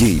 Jej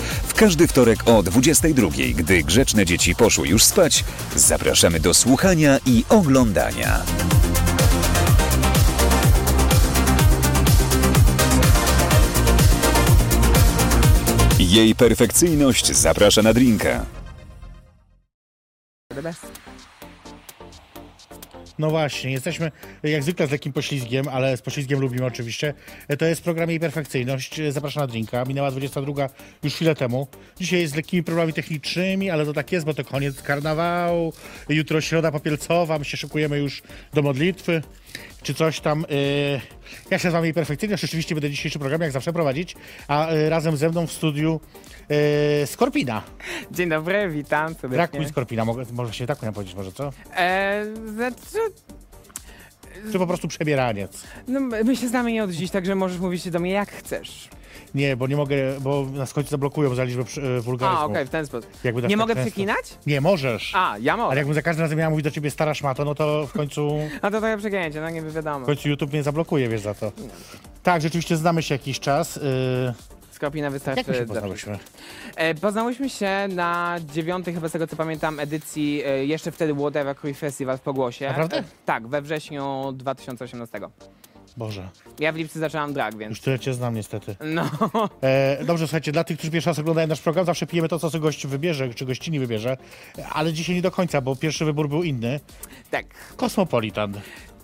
W każdy wtorek o 22, gdy grzeczne dzieci poszły już spać, zapraszamy do słuchania i oglądania. Jej perfekcyjność zaprasza na drinka. No właśnie, jesteśmy jak zwykle z lekkim poślizgiem, ale z poślizgiem lubimy oczywiście. E, To jest program Jej Perfekcyjność. E, Zapraszam na drinka. Minęła 22 już chwilę temu. Dzisiaj jest z lekkimi problemami technicznymi, ale to tak jest, bo to koniec karnawału. Jutro środa popielcowa, my się szykujemy już do modlitwy czy coś tam. Yy. Ja się z wami perfekcyjność. Rzeczywiście będę dzisiejszy program jak zawsze prowadzić, a yy, razem ze mną w studiu yy, Skorpina. Dzień dobry, witam Brak mi serdecznie. Skorpina, mogę, może się tak powinno powiedzieć, może co? E, znaczy, Czy po prostu przebieraniec? no, my się znamy nie od dziś, także możesz mówić do mnie jak chcesz. Nie, bo nie mogę, bo nas w końcu zablokują za liczbę przy- yy, A, wulgaryzmów. okej, w ten sposób. Jakby tak Nie tak mogę często. przeklinać? Nie, możesz. A, ja Ale mogę. jakbym za każdym razem miała mówić do ciebie stara szmato, no to w końcu, A to trochę przegięcie, no nie wiadomo. w końcu YouTube mnie zablokuje, wiesz, za to. Tak, rzeczywiście znamy się jakiś czas. Yy, Skopina jak my wystarczy. się do- poznałyśmy? E, poznałyśmy się na dziewiątej, chyba z tego co pamiętam, edycji e, jeszcze wtedy Whatever Crew Festival w Pogłosie. Naprawdę? E, tak, we wrześniu 2018. Boże, Ja w lipcu zaczęłam drag, więc... już tyle cię znam niestety. No, E, dobrze, słuchajcie, dla tych, którzy pierwszy raz oglądają nasz program, zawsze pijemy to, co sobie gość wybierze, czy gościni wybierze, ale dzisiaj nie do końca, bo pierwszy wybór był inny. tak. Kosmopolitan.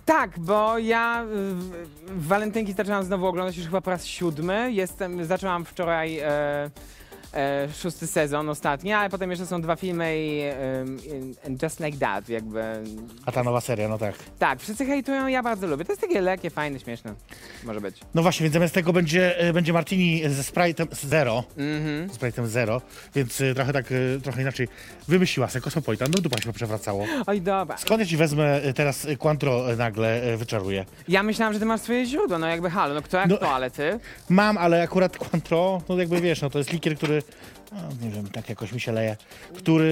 Tak, bo ja y, w- w walentynki zaczęłam znowu oglądać już chyba po raz siódmy. Jestem, zaczęłam wczoraj e, e, szósty sezon ostatni, ale potem jeszcze są dwa filmy i em, i- and Just Like That jakby. A ta nowa seria, no tak. Tak, wszyscy hejtują, ja bardzo lubię. To jest takie lekkie, fajne, śmieszne. Może być. No właśnie, więc zamiast tego będzie, e, będzie Martini ze Sprite'em Zero. Mhm. Z Sprite'em Zero, więc e, trochę tak, e, trochę inaczej. Wymyśliła se Kosmopolitan, no dupa się przewracało. Oj, dobra. Skąd ja ci wezmę e, teraz e, Quantro e, nagle e, wyczaruję? Ja myślałam, że ty masz swoje źródło, no jakby halo, no kto jak No. to, ale ty? Mam, ale akurat Cointreau, no jakby wiesz, no to jest likier, który, no, nie wiem, tak jakoś mi się leje, który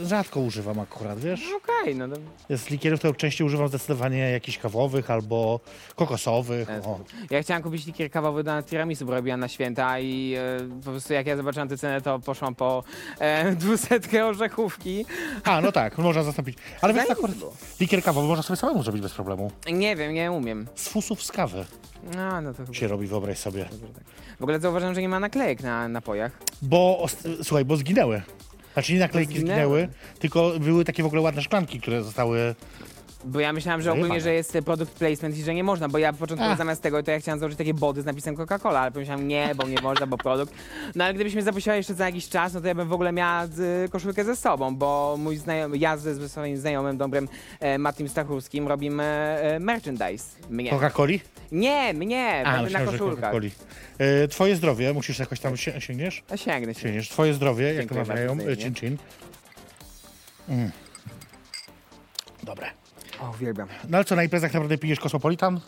y, rzadko używam akurat, wiesz? Okej, no to... Z likierów to częściej używam zdecydowanie jakichś kawowych albo kokosowych. O. Ja chciałam kupić likier kawowy na tiramisu, bo robiłam na święta i e, po prostu jak ja zobaczyłam tę cenę, to poszłam po e, dwusetkę orzechówki. A, no tak, można zastąpić. Ale wiesz, Zajebiście akurat było. likier kawowy można sobie samemu zrobić bez problemu. Nie wiem, nie umiem. Z fusów z kawy A, no to chyba. się robi, wyobraź sobie. W ogóle zauważyłem, że nie ma naklejek na napojach. Bo, os- słuchaj, bo zginęły. Znaczy nie naklejki Zginęły. zginęły, tylko były takie w ogóle ładne szklanki, które zostały... Bo ja myślałam, że Zajebane. ogólnie, że jest product placement i że nie można, bo ja początkowo Ach. zamiast tego to ja chciałam założyć takie body z napisem Coca-Cola, ale pomyślałam nie, bo nie można, bo produkt. No ale gdybyś mnie zaprosiła jeszcze za jakiś czas, no to ja bym w ogóle miała y, koszulkę ze sobą, bo mój znajomy, ja ze ze swoim znajomym dobrym e, Matim Stachurskim robimy e, merchandise. Mnie. Coca-Coli? Nie, mnie, A, Tak, na myślałem, że koszulkach. Coca-Coli. E, Twoje zdrowie, musisz jakoś tam się, sięgniesz? A sięgnę się. Sięgniesz. Twoje zdrowie, jak to Dziękuję mawiają, bardzo, e, pięknie. chin chin. Mm. Dobre. O, uwielbiam. No ale co, na imprezach naprawdę pijesz Kosmopolitan?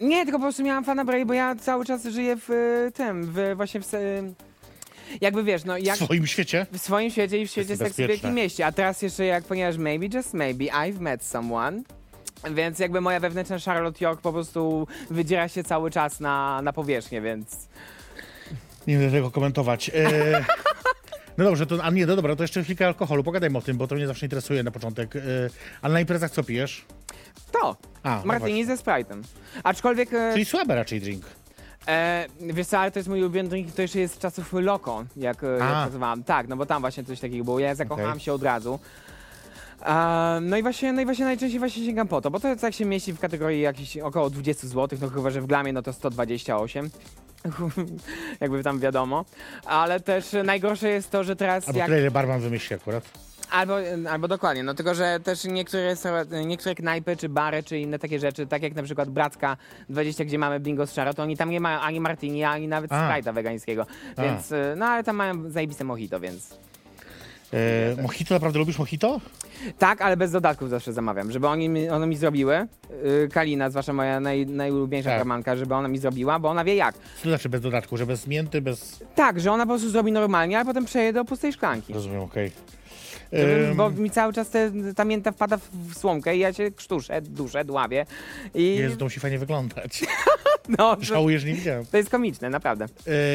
Nie, tylko po prostu miałam fana break, bo ja cały czas żyję w y, tym, w, właśnie w... se- Jakby wiesz, no W jak... swoim świecie? W swoim świecie i w świecie Jest seks w niebezpieczne. wielkim mieście. A teraz jeszcze jak, ponieważ maybe, just maybe, I've met someone. Więc jakby moja wewnętrzna Charlotte York po prostu wydziera się cały czas na, na powierzchnię, więc... Nie będę tego komentować. E, no dobrze, to, a nie, no dobra, to jeszcze chwilkę alkoholu, pogadajmy o tym, bo to mnie zawsze interesuje na początek. E, ale na imprezach co pijesz? To! A, no Martini właśnie. ze Sprite'em. Aczkolwiek, e, Czyli słaby raczej drink. e, wiesz co, ale to jest mój ulubiony drink, to jeszcze jest z czasów Loko, jak, e, jak A. pracowałam. Tak, no bo tam właśnie coś takiego było, ja zakochałam Okej. się od razu. E, no, i właśnie, no i właśnie najczęściej właśnie sięgam po to, bo to tak się mieści w kategorii jakichś około 20 zł, no chyba, że w glamie no to 128. Jakby tam wiadomo. Ale też najgorsze jest to, że teraz Albo jak... tyle, ile barman wymyśli akurat. Albo, albo dokładnie, no tylko, że też niektóre, są- niektóre knajpy, czy bary, czy inne takie rzeczy, tak jak na przykład Bracka 20, gdzie mamy bingo z szaro, to oni tam nie mają ani martini, ani nawet A. Sprite'a wegańskiego, e, A. więc, y, no ale tam mają zajebiste mojito, więc... E, mojito, naprawdę lubisz mojito? Tak, ale bez dodatków zawsze zamawiam, żeby oni mi, ono mi zrobiły. Yy, Kalina, zwłaszcza moja naj, najulubieńsza Tak. karmanka, żeby ona mi zrobiła, bo ona wie jak. To znaczy bez dodatku, że bez mięty, bez... Tak, że ona po prostu zrobi normalnie, a potem przeje do pustej szklanki. Rozumiem, okej. Żeby- Em, Bo mi cały czas te, ta mięta wpada w- w słomkę i ja się krztuszę, duszę, dławię. I Jezu, to musi fajnie wyglądać. no, to, Żałuję, że nie widziałem. to jest komiczne, naprawdę.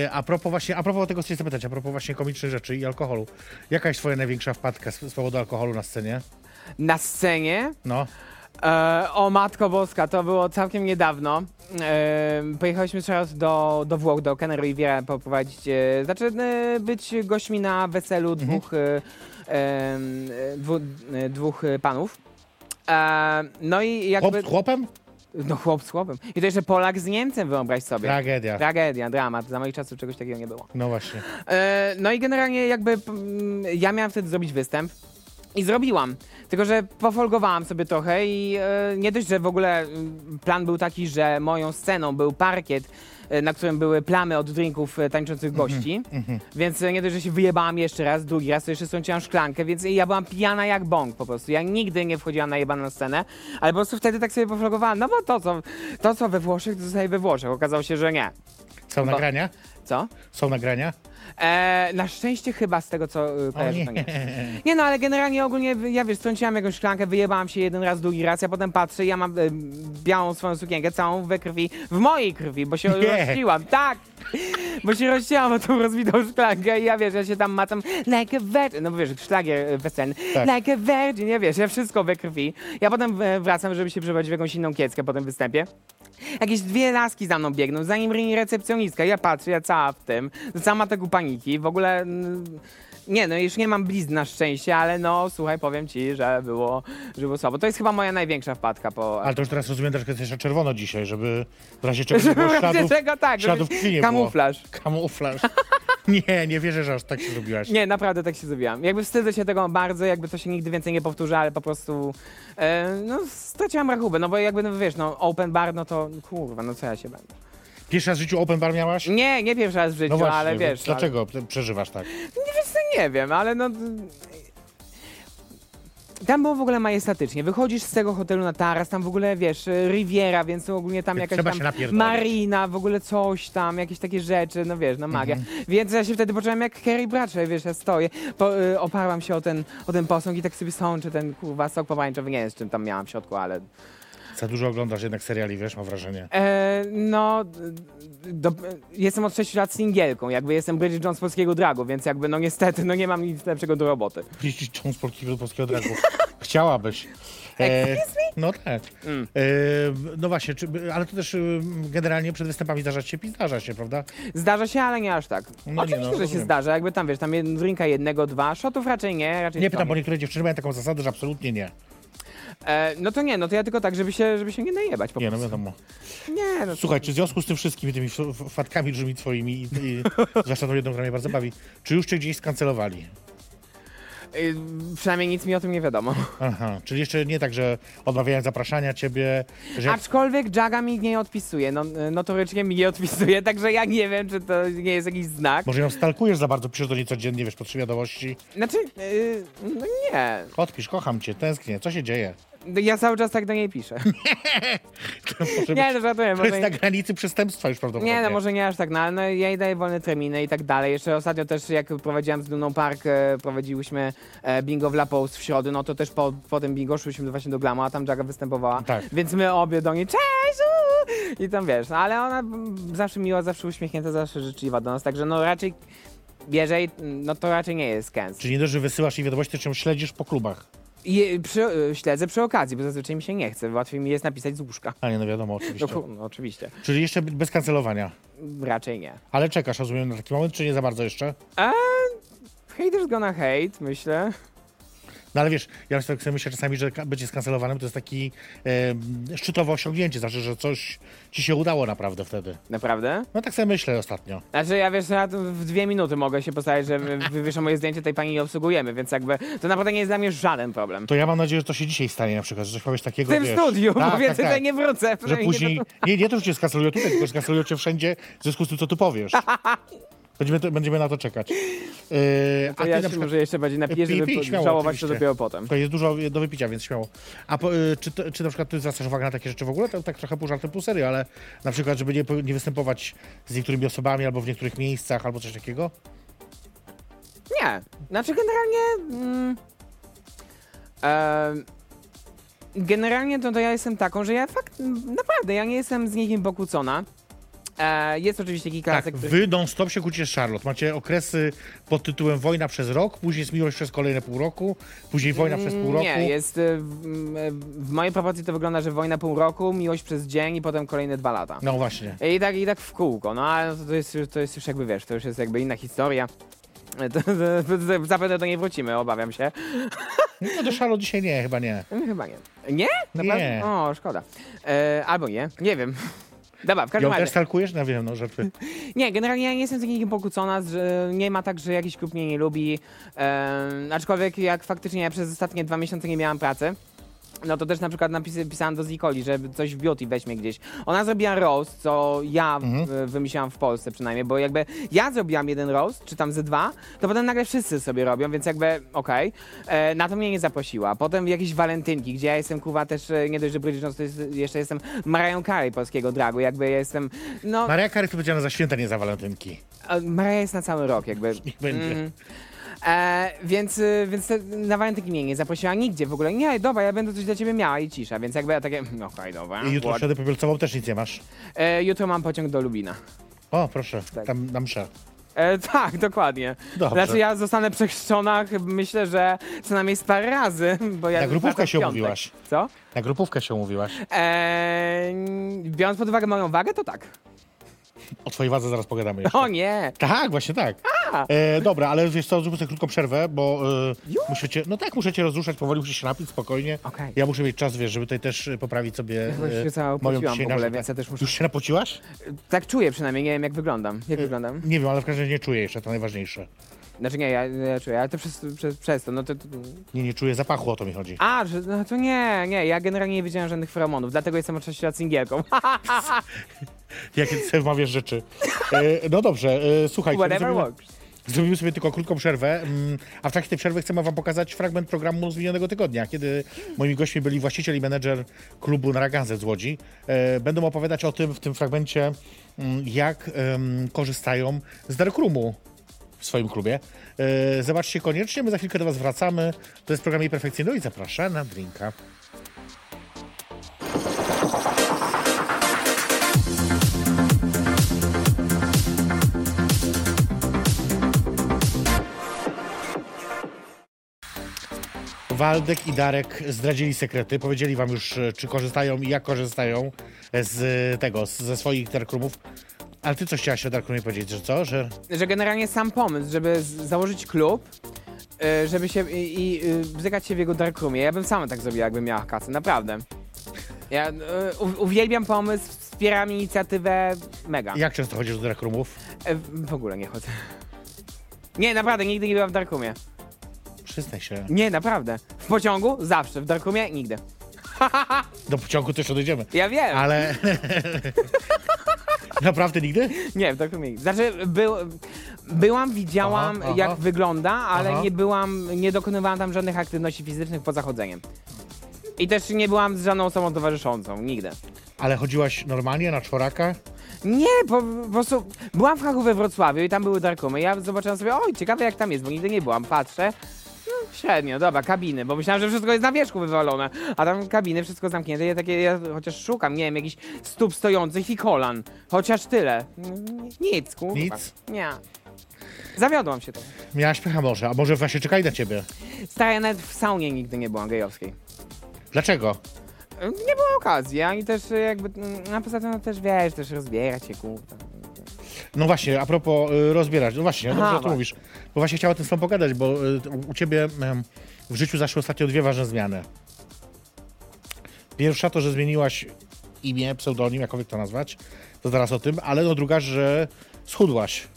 E, a propos właśnie, a propos tego, co chciałem zapytać, a propos właśnie komicznych rzeczy i alkoholu. Jaka jest twoja największa wpadka z, z powodu alkoholu na scenie? Na scenie No. E, o Matko Boska, to było całkiem niedawno. E, pojechaliśmy teraz do, do Włoch, do Canary Riviera poprowadzić, e, znaczy e, być gośćmi na weselu Mhm. dwóch, e, em, e, dwu, e, dwóch e, panów. E, no i Chłop jakby... z chłopem? No chłop z chłopem. I to jeszcze Polak z Niemcem, wyobraź sobie. Tragedia. Tragedia, dramat. Za moich czasów czegoś takiego nie było. No właśnie. E, No i generalnie jakby mm, ja miałam wtedy zrobić występ. I zrobiłam. Tylko, że pofolgowałam sobie trochę i e, nie dość, że w ogóle mm, plan był taki, że moją sceną był parkiet, e, na którym były plamy od drinków e, tańczących gości. Więc e, nie dość, że się wyjebałam jeszcze raz, drugi raz, to jeszcze strąciłam szklankę, więc ja byłam pijana jak bąk po prostu. Ja nigdy nie wchodziłam na jebaną scenę, ale po prostu wtedy tak sobie pofolgowałam. No bo to, co, to, co we Włoszech, to zostaje we Włoszech. Okazało się, że nie. Są Chyba- nagrania? Co? Są nagrania? E, na szczęście chyba z tego, co y, kojarzę, nie. to nie. Nie no, ale generalnie ogólnie, wy- ja wiesz, strąciłam jakąś szklankę, wyjebałam się jeden raz, drugi raz, ja potem patrzę i ja mam e, białą swoją sukienkę, całą we krwi, w mojej krwi, bo się Nie. rozciłam, tak! Bo się rozciłam o tą rozbitą szklankę i ja wiesz, ja się tam macam like a virgin, no bo wiesz, szlagier e, weselny, Tak. like a virgin, ja wiesz, ja wszystko we krwi. Ja potem e, wracam, żeby się przebrać w jakąś inną kieckę po tym występie. Jakieś dwie laski za mną biegną, za nim rini recepcjonistka. Ja patrzę, ja cała w tym, sama tego paniki, w ogóle... mm, Nie no, już nie mam blizn na szczęście, ale no słuchaj, powiem ci, że było, że było słabo. To jest chyba moja największa wpadka po... Ale to już teraz rozumiem, troszkę jest jeszcze czerwono dzisiaj, żeby w razie czegoś nie było śladów, czego tak, śladów żebyś- krwi nie kamuflaż. Było. Kamuflaż. Nie, nie wierzę, że aż tak się zrobiłaś. Nie, naprawdę tak się zrobiłam. Jakby wstydzę się tego bardzo, jakby to się nigdy więcej nie powtórzy, ale po prostu e, no, straciłam rachubę, no bo jakby, no wiesz, no open bar, no to kurwa, no co ja się będę. Pierwszy raz w życiu open bar miałaś? Nie, nie pierwszy raz w życiu, No właśnie, ale wiesz. ale- dlaczego przeżywasz tak? Nie wiesz co, nie wiem, ale no... Tam było w ogóle majestatycznie. Wychodzisz z tego hotelu na taras, tam w ogóle, wiesz, y, Riviera, więc ogólnie tam Więc jakaś trzeba tam się napierdolić. marina, w ogóle coś tam, jakieś takie rzeczy, no wiesz, no magia. Mhm. Więc ja się wtedy poczułem jak Harry Bradshaw, wiesz, ja stoję, po, y, oparłam się o ten, o ten posąg i tak sobie sączę ten, kurwa, sok pomarańczowy, nie wiem, z czym tam miałam w środku, ale... Za dużo oglądasz jednak seriali, wiesz, mam wrażenie. E, no, d- do, jestem od 6 lat singielką, jakby jestem Bridget Jones polskiego dragu, więc jakby, no niestety, no nie mam nic lepszego do roboty. Jeździć czą z polskiego do polskiego dragu. Chciałabyś. Excuse me? No tak. Mm. E, no właśnie, czy, ale to też y, generalnie przed występami zdarza ci się, pi- zdarza się, prawda? Zdarza się, ale nie aż tak. No nie, Oczywiście, no, że się rozumiem. zdarza, jakby tam, wiesz, tam jed- drinka jednego, dwa, shotów raczej nie, raczej Nie to pytam, bo niektóre dziewczyny mają taką zasadę, że absolutnie nie. E, no to nie, no to ja tylko tak, żeby się, żeby się nie najebać po Nie, no prostu. wiadomo. Nie, no Słuchaj, czy w związku z tym wszystkimi tymi f- f- fatkami różnymi twoimi, i, i, zwłaszcza tą jedną, która mnie bardzo bawi, czy już cię gdzieś skancelowali? y, przynajmniej nic mi o tym nie wiadomo. Aha, czyli jeszcze nie tak, że odmawiałem zapraszania ciebie, że... Aczkolwiek Jaga mi nie odpisuje, no, y, notorycznie mi nie odpisuje, także ja nie wiem, czy to nie jest jakiś znak. Może ją stalkujesz za bardzo, piszesz do niej codziennie, wiesz, po trzy wiadomości. Znaczy, y, no nie, Odpisz, kocham cię, tęsknię, co się dzieje? ja cały czas tak do niej piszę. Może Nie, być- no żartuję, to jest tak może... na granicy przestępstwa już prawdopodobnie. Nie, no może nie aż tak, no ale no, ja jej daję wolne terminy i tak dalej. Jeszcze ostatnio też jak prowadziłam z Duną Park, e, prowadziłyśmy e, bingo w La Pose w środę, no to też po, po tym bingo szłyśmy do- właśnie do Glama, a tam Jaga występowała. Tak. Więc my obie do niej, cześć! uuu!" I tam wiesz, no, ale ona mm, zawsze miła, zawsze uśmiechnięta, zawsze życzliwa do nas, także no raczej, jeżeli, no to raczej nie jest kęs. Czyli nie dość, że wysyłasz jej wiadomości, to czym śledzisz po klubach. I e, przy, e, śledzę przy okazji, bo zazwyczaj mi się nie chce, łatwiej mi jest napisać z łóżka. A nie, no wiadomo, No, oczywiście. ku- no oczywiście, Czyli jeszcze bez kancelowania. raczej nie. Ale czekasz, rozumiem, na taki moment, czy nie za bardzo jeszcze? A, haters gonna hate, myślę. No ale wiesz, ja sobie tak myślę czasami, że ka- bycie skancelowanym to jest taki e, szczytowe osiągnięcie, znaczy, że coś ci się udało naprawdę wtedy. Naprawdę? No tak sobie myślę ostatnio. Znaczy ja wiesz, ja tu w dwie minuty mogę się postawić, że wy- wywieszą moje zdjęcie tej pani i obsługujemy, więc jakby to naprawdę nie jest dla mnie żaden problem. To ja mam nadzieję, że to się dzisiaj stanie na przykład, że coś powiesz W takiego, tym wiesz, studiu, bo tak, tak, więcej tutaj tak, nie no wrócę. że przynajmniej nie później, nie, nie to, że cię skancelują tutaj, tylko że skancelują cię wszędzie w związku z tym, co tu powiesz. Będziemy, to, będziemy na to czekać. Yy, No To ja się może jeszcze bardziej napiję, Pij, żeby pij, po- śmiało, żałować to oczywiście. dopiero potem. To jest dużo do wypicia, więc śmiało. A po, y, czy, to, czy na przykład ty zwracasz uwagę na takie rzeczy w ogóle? To, tak trochę pół żartem, pół serio, ale na przykład, żeby nie, po- nie występować z niektórymi osobami albo w niektórych miejscach albo coś takiego? Nie, znaczy generalnie... Mm, em, generalnie to, to ja jestem taką, że ja fakt... Naprawdę, ja nie jestem z nikim pokłócona. E, jest oczywiście kilka Tak, lasek, których- wy non-stop się kłócicie z Charlotte. Macie okresy pod tytułem wojna przez rok, później jest miłość przez kolejne pół roku, później wojna przez pół roku. Nie, jest. y, W, m, w mojej proporcji to wygląda, że wojna pół roku, miłość przez dzień i potem kolejne dwa lata. No właśnie. I tak, i tak w kółko, no ale to, to, jest, już- to jest już jakby wiesz, to już jest jakby inna historia. To, to, to, to, zapewne do niej wrócimy, obawiam się. No, No do Charlotte dzisiaj nie, chyba nie. Chyba nie. Nie? Naprawdę? Nie. O, szkoda. E, albo nie, nie wiem. Dobra, w każdym Ją razie. też stalkujesz? No wiem, no żarty. Nie, generalnie ja nie jestem z nikim pokłócona, że nie ma tak, że jakiś klub mnie nie lubi. Em, aczkolwiek jak faktycznie ja przez ostatnie dwa miesiące nie miałam pracy, no to też na przykład napisy, pisałam do Zikoli, że coś w beauty weźmie gdzieś. Ona zrobiła roast, co ja e, wymyśliłam w Polsce przynajmniej, bo jakby ja zrobiłam jeden roast, czy tam ze dwa, to potem nagle wszyscy sobie robią, więc jakby okej. E, Na to mnie nie zaprosiła. Potem jakieś walentynki, gdzie ja jestem kuwa też, e, nie dość, że Bridget Jones, to jest, jeszcze jestem Mariah Carey polskiego dragu, jakby ja jestem, no... Maria Kary powiedziana za święta, nie za walentynki. A Maria jest na cały rok, jakby. Niech będzie. Mhm. E, więc y, więc te- na walentynki mnie nie zaprosiła nigdzie w ogóle. Nie, dobra, ja będę coś dla ciebie miała i cisza, więc jakby ja takie, no okej, dobra. I jutro what? w środę popielcową też nic nie masz. e, jutro mam pociąg do Lubina. O, proszę, Tak. tam na mszę. E, tak, dokładnie. Dobrze. Znaczy ja zostanę przechrzczona, chyba- myślę, że co najmniej z parę razy, bo ja... Na grupówkę wracam w się piątek. umówiłaś. Co? Na grupówkę się umówiłaś. E, biorąc pod uwagę moją wagę, to tak. O twojej wadze zaraz pogadamy jeszcze. O nie! Tak, właśnie tak. E, dobra, ale wiesz co, zróbmy sobie krótką przerwę, bo e, musicie, no tak, muszę cię rozruszać, powoli musisz się napić, spokojnie. Okej. Ja muszę mieć czas, wiesz, żeby tutaj też e, poprawić sobie Ja e, się cała moją opociłam w dzisiejszą- ogóle, więc ja też muszę... Już się napociłaś? Tak czuję przynajmniej, nie wiem jak wyglądam. Y- Jak wyglądam? Nie wiem, ale w każdym razie nie czuję jeszcze, to najważniejsze. Znaczy nie, ja, ja czuję, ale to przez, przez, przez to, no to... to- Nie, nie czuję zapachu, o to mi chodzi. A, że, no to nie, nie, ja generalnie nie wiedziałem żadnych feromonów, dlatego jestem od 6 lat singielką. Jak sobie wmawiasz rzeczy. E, no dobrze, e, słuchajcie, no Whatever zrobimy, works. zrobimy sobie tylko krótką przerwę, mm, a w trakcie tej przerwy chcemy wam pokazać fragment programu z minionego tygodnia, kiedy moimi gośćmi byli właściciel i menedżer klubu Naragazę z Łodzi. E, będą opowiadać o tym w tym fragmencie, mm, jak em, korzystają z darkroomu w swoim klubie. E, zobaczcie koniecznie, my za chwilkę do was wracamy. To jest program Jej Perfekcyjny i zapraszam na drinka. Waldek i Darek zdradzili sekrety, powiedzieli wam już, e, czy korzystają i jak korzystają z e, tego, z- ze swoich darkrumów. Ale ty coś chciałaś o darkrumie powiedzieć, że co? Że Że generalnie sam pomysł, żeby z- założyć klub, y, żeby się... i, i y, bzykać się w jego darkroomie, ja bym sama tak zrobiła, jakbym miała kasę, naprawdę. Ja y, u- uwielbiam pomysł, wspieram inicjatywę, mega. jak często chodzisz do darkrumów? E, w ogóle nie chodzę. Nie, naprawdę, nigdy nie byłam w darkroomie. Przyznaj się. Nie, naprawdę. W pociągu? Zawsze. W darkroomie? Nigdy. Do pociągu też odejdziemy. Ja wiem. Ale... Naprawdę nigdy? Nie, w darkroomie. nigdy. Znaczy, był, byłam, widziałam Aha, aha. jak wygląda, ale Aha. nie byłam, nie dokonywałam tam żadnych aktywności fizycznych poza chodzeniem. I też nie byłam z żadną osobą towarzyszącą, nigdy. Ale chodziłaś normalnie na czworaka? Nie, po, po prostu byłam w Kraku we Wrocławiu i tam były darkroomie. Ja zobaczyłam sobie, oj, ciekawe jak tam jest, bo nigdy nie byłam. Patrzę, no, średnio, dobra, kabiny, bo myślałam, że wszystko jest na wierzchu wywalone, a tam kabiny, wszystko zamknięte. Ja takie, ja chociaż szukam, nie wiem, jakichś stóp stojących i kolan. Chociaż tyle. Mm, Nic, kurwa. Nic? Nie. Zawiodłam się to. Miałaś pecha może, a może właśnie czekaj na ciebie. Stara, ja nawet w saunie nigdy nie byłam gejowskiej. Dlaczego? Nie było okazji, ani też jakby, mm, a poza tym no, też wiesz, też rozbierać się, kurwa. No właśnie, a propos y, rozbierać, no właśnie, Aha, dobrze, że to właśnie. mówisz. Bo właśnie chciałem o tym z tobą pogadać, bo y, u ciebie em, w życiu zaszły ostatnio dwie ważne zmiany. Pierwsza to, że zmieniłaś imię, pseudonim, jakkolwiek to nazwać, to zaraz o tym, ale no druga, że schudłaś.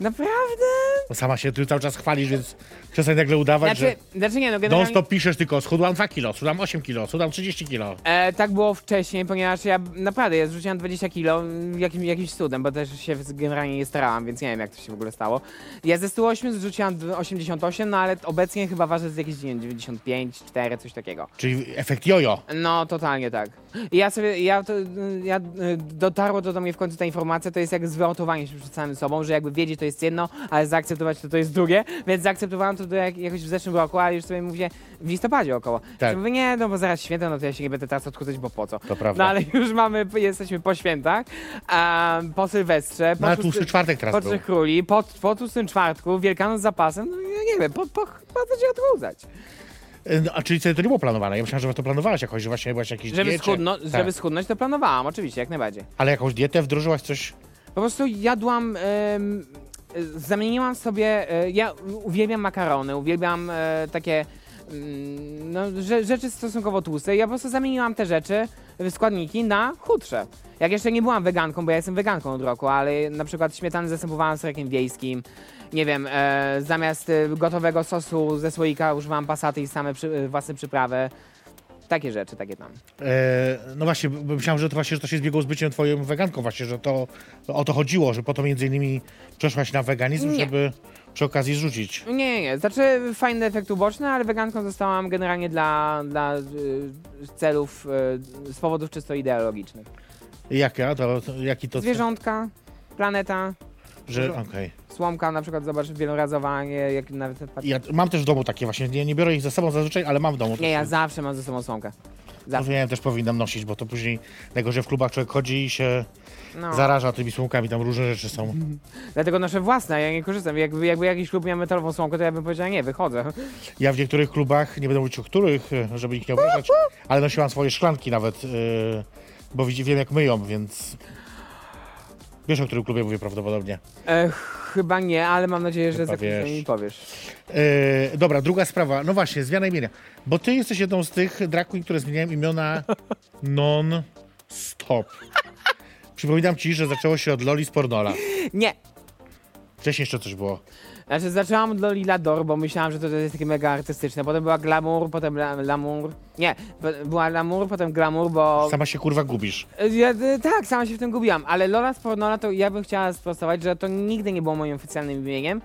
Naprawdę? Bo sama się ty cały czas chwalisz, więc przestań nagle udawać, Znaczy, że znaczy nie, no non generalnie... stop piszesz tylko schudłam 2 kilo, schudłam 8 kilo, schudłam 30 kilo. E, tak było wcześniej, ponieważ ja naprawdę ja zrzuciłam 20 kilo mm, jakim, jakimś cudem, bo też się z- generalnie nie starałam, więc nie wiem jak to się w ogóle stało. Ja ze 108 zrzuciłam d- 88, no ale obecnie chyba ważę z jakieś nie wiem, 95, 4, coś takiego. Czyli efekt jojo. No, totalnie tak. I Ja sobie, ja, to, ja y, dotarło to do mnie w końcu ta informacja, to jest jak zwrotowanie się przed samym sobą, że jakby wiedzieć to jest jedno, ale zaakceptować to to jest drugie, więc zaakceptowałam to do jak, jakoś w zeszłym roku, ale już sobie mówię, w listopadzie około. Tak. Że mówię, nie, no bo zaraz święta, no to ja się nie będę teraz odchudzać, bo po co. To prawda. No ale już mamy, jesteśmy po świętach, a, po Sylwestrze, No po, ale szósty- tłusty czwartek po teraz był. Trzech Króli, po, po Tłustym Czwartku, Wielkanoc z zapasem, no ja nie wiem, po, po, po co się odchudzać? E, No, a czyli wtedy to nie było planowane? Ja myślałem, że to planowałaś jakoś, że właśnie byłaś jakiś Żeby, diecie. schudno, tak. żeby schudnąć, to planowałam, oczywiście, jak najbardziej. Ale jakąś dietę wdrożyłaś coś? Po prostu jadłam. em, y, zamieniłam sobie. y, ja uwielbiam makarony, uwielbiam e, takie. mm, No, rze, rzeczy stosunkowo tłuste. Ja po prostu zamieniłam te rzeczy, y, składniki na chudsze. Jak jeszcze nie byłam weganką, bo ja jestem weganką od roku, ale na przykład śmietany zastępowałam sorekiem wiejskim. Nie wiem, e, zamiast y, gotowego sosu ze słoika używam pasaty i same przy, y, własne przyprawy. Takie rzeczy, takie tam. E, no właśnie, bo myślałem, że to właśnie że to się zbiegło z byciem twoją weganką właśnie, że to o to chodziło, że po to między innymi przeszłaś na weganizm, Nie. żeby przy okazji zrzucić. Nie, nie, nie. Znaczy fajny efekt uboczny, ale weganką zostałam generalnie dla, dla y, celów, y, z powodów czysto ideologicznych. Jak ja? To, to, jaki to... Zwierzątka, planeta, Że, okej. słomka na przykład, zobacz, wielorazowa, nie, jak nawet... Ja mam też w domu takie właśnie, nie, nie biorę ich ze sobą zazwyczaj, ale mam w domu. Nie, ja zawsze mam ze sobą słomkę. No, wiem, też powinnam nosić, bo to później, tego, że w klubach człowiek chodzi i się No. zaraża tymi słomkami, tam różne rzeczy są. Dlatego nasze własne, ja nie korzystam. Jakby, jakby jakiś klub miał metalową słomkę, to ja bym powiedziała, nie, wychodzę. Ja w niektórych klubach, nie będę mówić o których, e, żeby ich nie obrażać, ale nosiłam swoje szklanki nawet, e, bo widzi- wiem jak myją, więc... Wiesz, o którym klubie mówię prawdopodobnie. E, chyba nie, ale mam nadzieję, że Chyba za chwilę wiesz. mi powiesz. E, dobra, druga sprawa. No właśnie, zmiana imienia. Bo ty jesteś jedną z tych drag queen, które zmieniają imiona non-stop. Przypominam ci, że zaczęło się od Loli z Pornola. Nie, Wcześniej jeszcze coś było. Znaczy zaczęłam od Lolila Dor, bo myślałam, że to jest takie mega artystyczne. Potem była Glamour, potem la, Lamour. Nie, po- była Lamour, potem Glamour, bo... Sama się kurwa gubisz. Ja, y, tak, sama się w tym gubiłam, ale Lola z Pornola to ja bym chciała sprostować, że to nigdy nie było moim oficjalnym imieniem.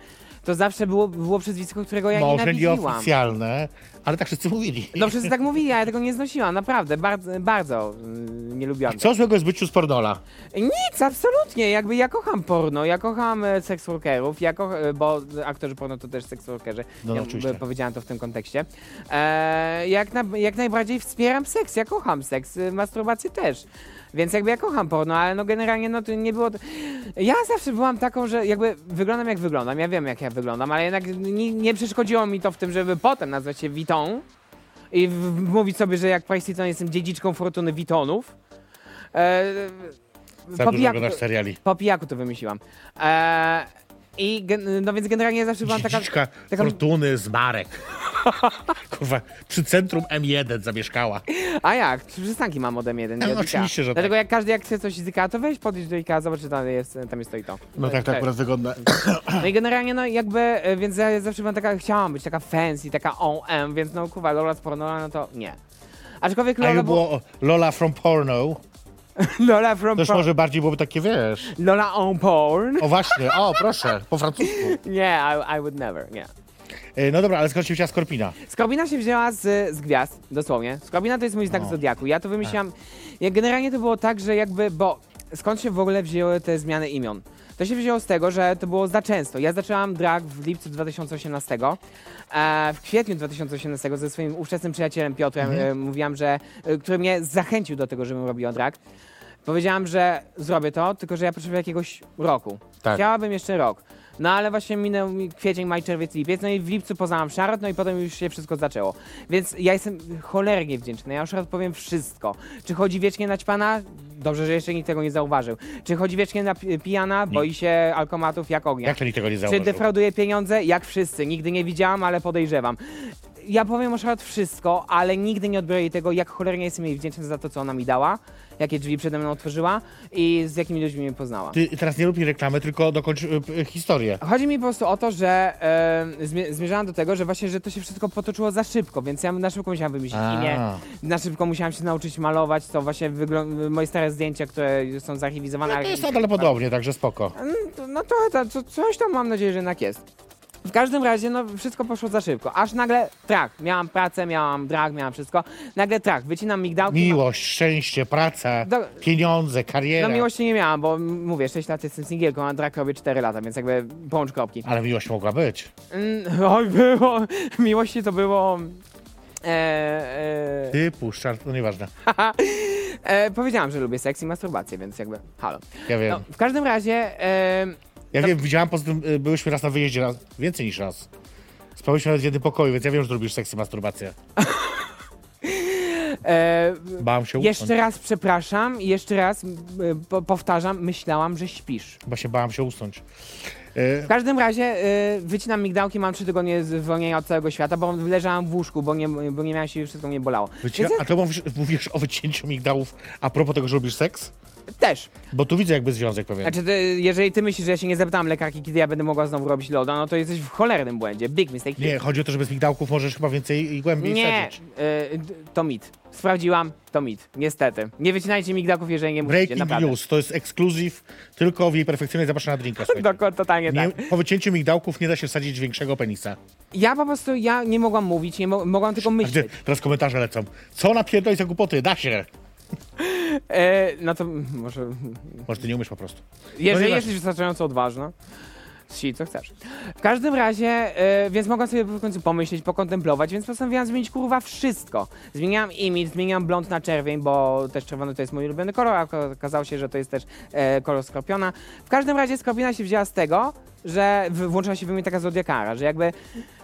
To zawsze było, było przezwisko, którego ja Może nienawidziłam. nieoficjalne, ale tak wszyscy mówili. No wszyscy tak mówili, a ja tego nie znosiłam, naprawdę, bardzo, bardzo y, nie lubiłam. Co złego jest w byciu z Pornola? Nic, absolutnie. Jakby ja kocham porno, ja kocham e, seks workerów, ja koch- e, bo aktorzy porno to też seks workerzy. No, ja oczywiście. b- powiedziałam to w tym kontekście. E, jak, na, jak najbardziej wspieram seks, ja kocham seks, e, masturbację też. Więc jakby ja kocham porno, ale no generalnie no to nie było... to- Ja zawsze byłam taką, że jakby wyglądam jak wyglądam, ja wiem jak ja wyglądam, ale jednak nie, nie przeszkodziło mi to w tym, żeby potem nazwać się Witą i w- w- mówić sobie, że jak Priceton jestem dziedziczką fortuny Witonów. E, Za po dużo pijaku- oglądasz seriali. po pijaku to wymyśliłam. Eee, I gen- no więc generalnie zawsze byłam taka. Dziedziczka taka- Fortuny z Marek. Kurwa, przy centrum M1 zamieszkała. A jak? Trzy przystanki mam ode mnie jeden. No, nie od Ikea. oczywiście, że tak. Dlatego jak każdy jak chce coś z Ikea, to weź podejść do Ikea, zobacz, czy tam jest, tam jest to i to. No tak, tak akurat wygląda. No i generalnie, no jakby, e, więc ja zawsze byłam taka, chciałam być taka fancy, taka OM, więc no kuwa, Lola z pornola, no to nie. Aczkolwiek A Lola, jak było... było o, Lola from Porno, Lola from też por- może bardziej byłoby takie, wiesz... Lola on porn. O właśnie, o proszę, po francusku. Nie, I, I would never, nie. E, No dobra, ale skąd się wzięła Skorpina? Skobina się wzięła z, z gwiazd, dosłownie. Skobina to jest mój znak O. zodiaku. Ja to wymyśliłam. Ja, generalnie to było tak, że jakby, bo skąd się w ogóle wzięły te zmiany imion? To się wzięło z tego, że to było za często. Ja zaczęłam drag w lipcu 2018. E, w kwietniu 2018 ze swoim ówczesnym przyjacielem Piotrem e, mówiłam, że. E, który mnie zachęcił do tego, żebym robiła drag. Powiedziałam, że zrobię to, tylko że ja potrzebuję jakiegoś roku. Tak. Chciałabym jeszcze rok. No ale właśnie minął mi kwiecień, maj, czerwiec, lipiec, no i w lipcu poznałam Charlotte, no i potem już się wszystko zaczęło. Więc ja jestem cholernie wdzięczny, No ja już raz powiem wszystko. Czy chodzi wiecznie na ćpana? Dobrze, że jeszcze nikt tego nie zauważył. Czy chodzi wiecznie na pi- pijana? Boi się alkomatów jak ognia. Jak to nikt tego nie Czy zauważył? defrauduje pieniądze? Jak wszyscy. Nigdy nie widziałam, ale podejrzewam. ja powiem o Charlotte wszystko, ale nigdy nie odbiorę jej tego, jak cholernie jestem jej wdzięczny za to, co ona mi dała, jakie drzwi przede mną otworzyła i z jakimi ludźmi mnie poznała. Ty teraz nie rób mi reklamy, tylko dokończ y, y, historię. Chodzi mi po prostu o to, że e, zmie- zmierzałam do tego, że właśnie, że to się wszystko potoczyło za szybko, więc ja na szybko musiałam wymyślić A. imię, na szybko musiałam się nauczyć malować, to właśnie wyglą- moje stare zdjęcia, które są zarchiwizowane. No, to ale- jest nadal podobnie, także spoko. Mm, to- No trochę ta, co, coś tam mam nadzieję, że jednak jest. W każdym razie, no wszystko poszło za szybko. Aż nagle trach. Miałam pracę, miałam drag, miałam wszystko. Nagle trach. Wycinam migdałki. no- mam- Miłość, szczęście, praca, Do- pieniądze, kariera. No miłości nie miałam, bo m, mówię, 6 lat jestem singielką, a drag robię 4 lata, więc jakby połącz kropki. Ale miłość mogła być. Mm, oj, było. Miłości to było... E, e, Ty, puszczar, no nieważne. e, powiedziałam, że lubię seks i masturbację, więc jakby halo. Ja wiem. No, w każdym razie... E, Ja wiem, widziałam, poza tym y, byłyśmy raz na wyjeździe, raz, więcej niż raz. Spałyśmy nawet w jednym pokoju, więc ja wiem, że robisz seks i masturbację. e, Bałam się Jeszcze usunąć. raz przepraszam, i jeszcze raz m, po, powtarzam, myślałam, że śpisz. Chyba się bałam się usunąć. W każdym razie y, wycinam migdałki, mam trzy tygodnie zwolnienia od całego świata, bo leżałam w łóżku, bo nie, bo nie miałam siły, wszystko mnie bolało. Wycina- Więc a to mówisz, mówisz o wycięciu migdałów a propos tego, że robisz seks? ja też. Bo tu widzę jakby związek pewien. Znaczy, ty, jeżeli ty myślisz, że ja się nie zapytałam lekarki, kiedy ja będę mogła znowu robić loda, no to jesteś w cholernym błędzie. Big mistake. Nie, chodzi o to, że bez migdałków możesz chyba więcej i głębiej nie sadzić. y, d- to mit. Sprawdziłam, to mit. Niestety. Nie wycinajcie migdałków, jeżeli nie musicie, Breaking naprawdę. news, to jest ekskluzyw tylko w jej perfekcyjnej zapraszana drinka, słuchajcie. Dokładnie, totalnie Nie, tak. po wycięciu migdałków nie da się wsadzić większego penisa. Ja po prostu, ja nie mogłam mówić, nie mo- mogłam tylko A gdzie, myśleć. Znaczy, teraz komentarze lecą. Co napierdolić za głupoty? Da się! E, no to może. Może ty nie umiesz po prostu. Jeżeli nieważne. jesteś wystarczająco odważna, si co chcesz. W każdym razie, e, więc mogłam sobie w końcu pomyśleć, pokontemplować, więc postanowiłam zmienić kurwa wszystko. Zmieniałam imidż, zmieniłam blond na czerwień, bo też czerwony to jest mój ulubiony kolor, a oka- okazało się, że to jest też e, kolor skorpiona. W każdym razie skorpiona się wzięła z tego, że w- włączyła się we mnie taka zodiakara, że jakby.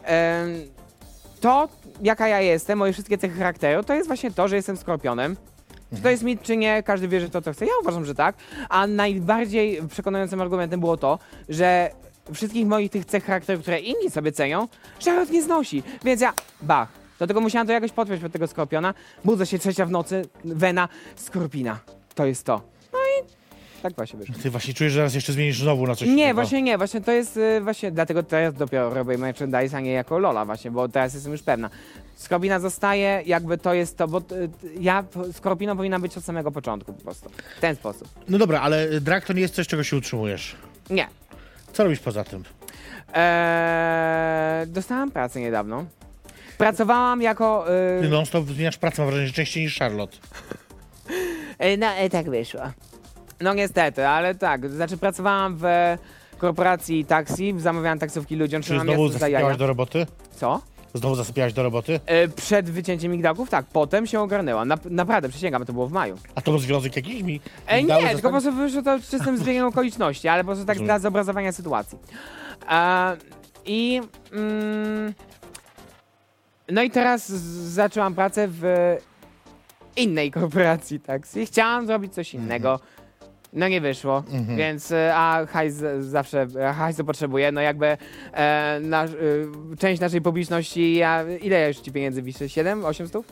em, to, jaka ja jestem, moje wszystkie cechy charakteru, to jest właśnie to, że jestem skorpionem. Czy Mhm. to jest mit, czy nie, każdy wie, że to, co chce. Ja uważam, że tak. A najbardziej przekonującym argumentem było to, że wszystkich moich tych cech charakteru, które inni sobie cenią, Charlotte nie znosi. Więc ja, bach. Dlatego musiałam to jakoś podpiąć pod tego skorpiona. Budzę się trzecia w nocy, wena, skorpina. To jest to. No i tak właśnie wyszło. Ty właśnie czujesz, że zaraz jeszcze zmienisz znowu na coś Nie, innego. właśnie nie, właśnie to jest, y, właśnie dlatego teraz dopiero robię merchandise, a nie jako Lola właśnie, bo teraz jestem już pewna. Skorpina zostaje, jakby to jest to, bo y, ja, Skorpina powinna być od samego początku po prostu, w ten sposób. No dobra, ale drag to nie jest coś, czego się utrzymujesz. Nie. Co robisz poza tym? Eee, dostałam pracę niedawno. Pracowałam jako... Ty Y, non stop zmieniasz pracę, mam wrażenie, że częściej niż Charlotte. y, no, y, tak wyszło. No niestety, ale tak, znaczy pracowałam w korporacji taksi, zamawiałam taksówki ludziom, Czy trzymam znowu miasto za jaja. zasypiałaś do roboty? Co? Znowu zasypiałaś do roboty? E, Przed wycięciem migdałków, tak, potem się ogarnęłam. Nap- naprawdę, przysięgam, to było w maju. A to był związek jakiś mi? tak- E, nie, dały tylko po zostać? prostu wyszło to czystym zbiegiem okoliczności, ale po prostu tak Rozumiem. dla zobrazowania sytuacji. E, I. Mm, no i teraz z- zaczęłam pracę w innej korporacji taksi. Chciałam zrobić coś innego. No nie wyszło, więc e, a hajs z- zawsze, e, a hajsu potrzebuje, no jakby e, nasz, e, część naszej publiczności, ja, ile ja już ci pieniędzy wiszę? 7, 8 stów?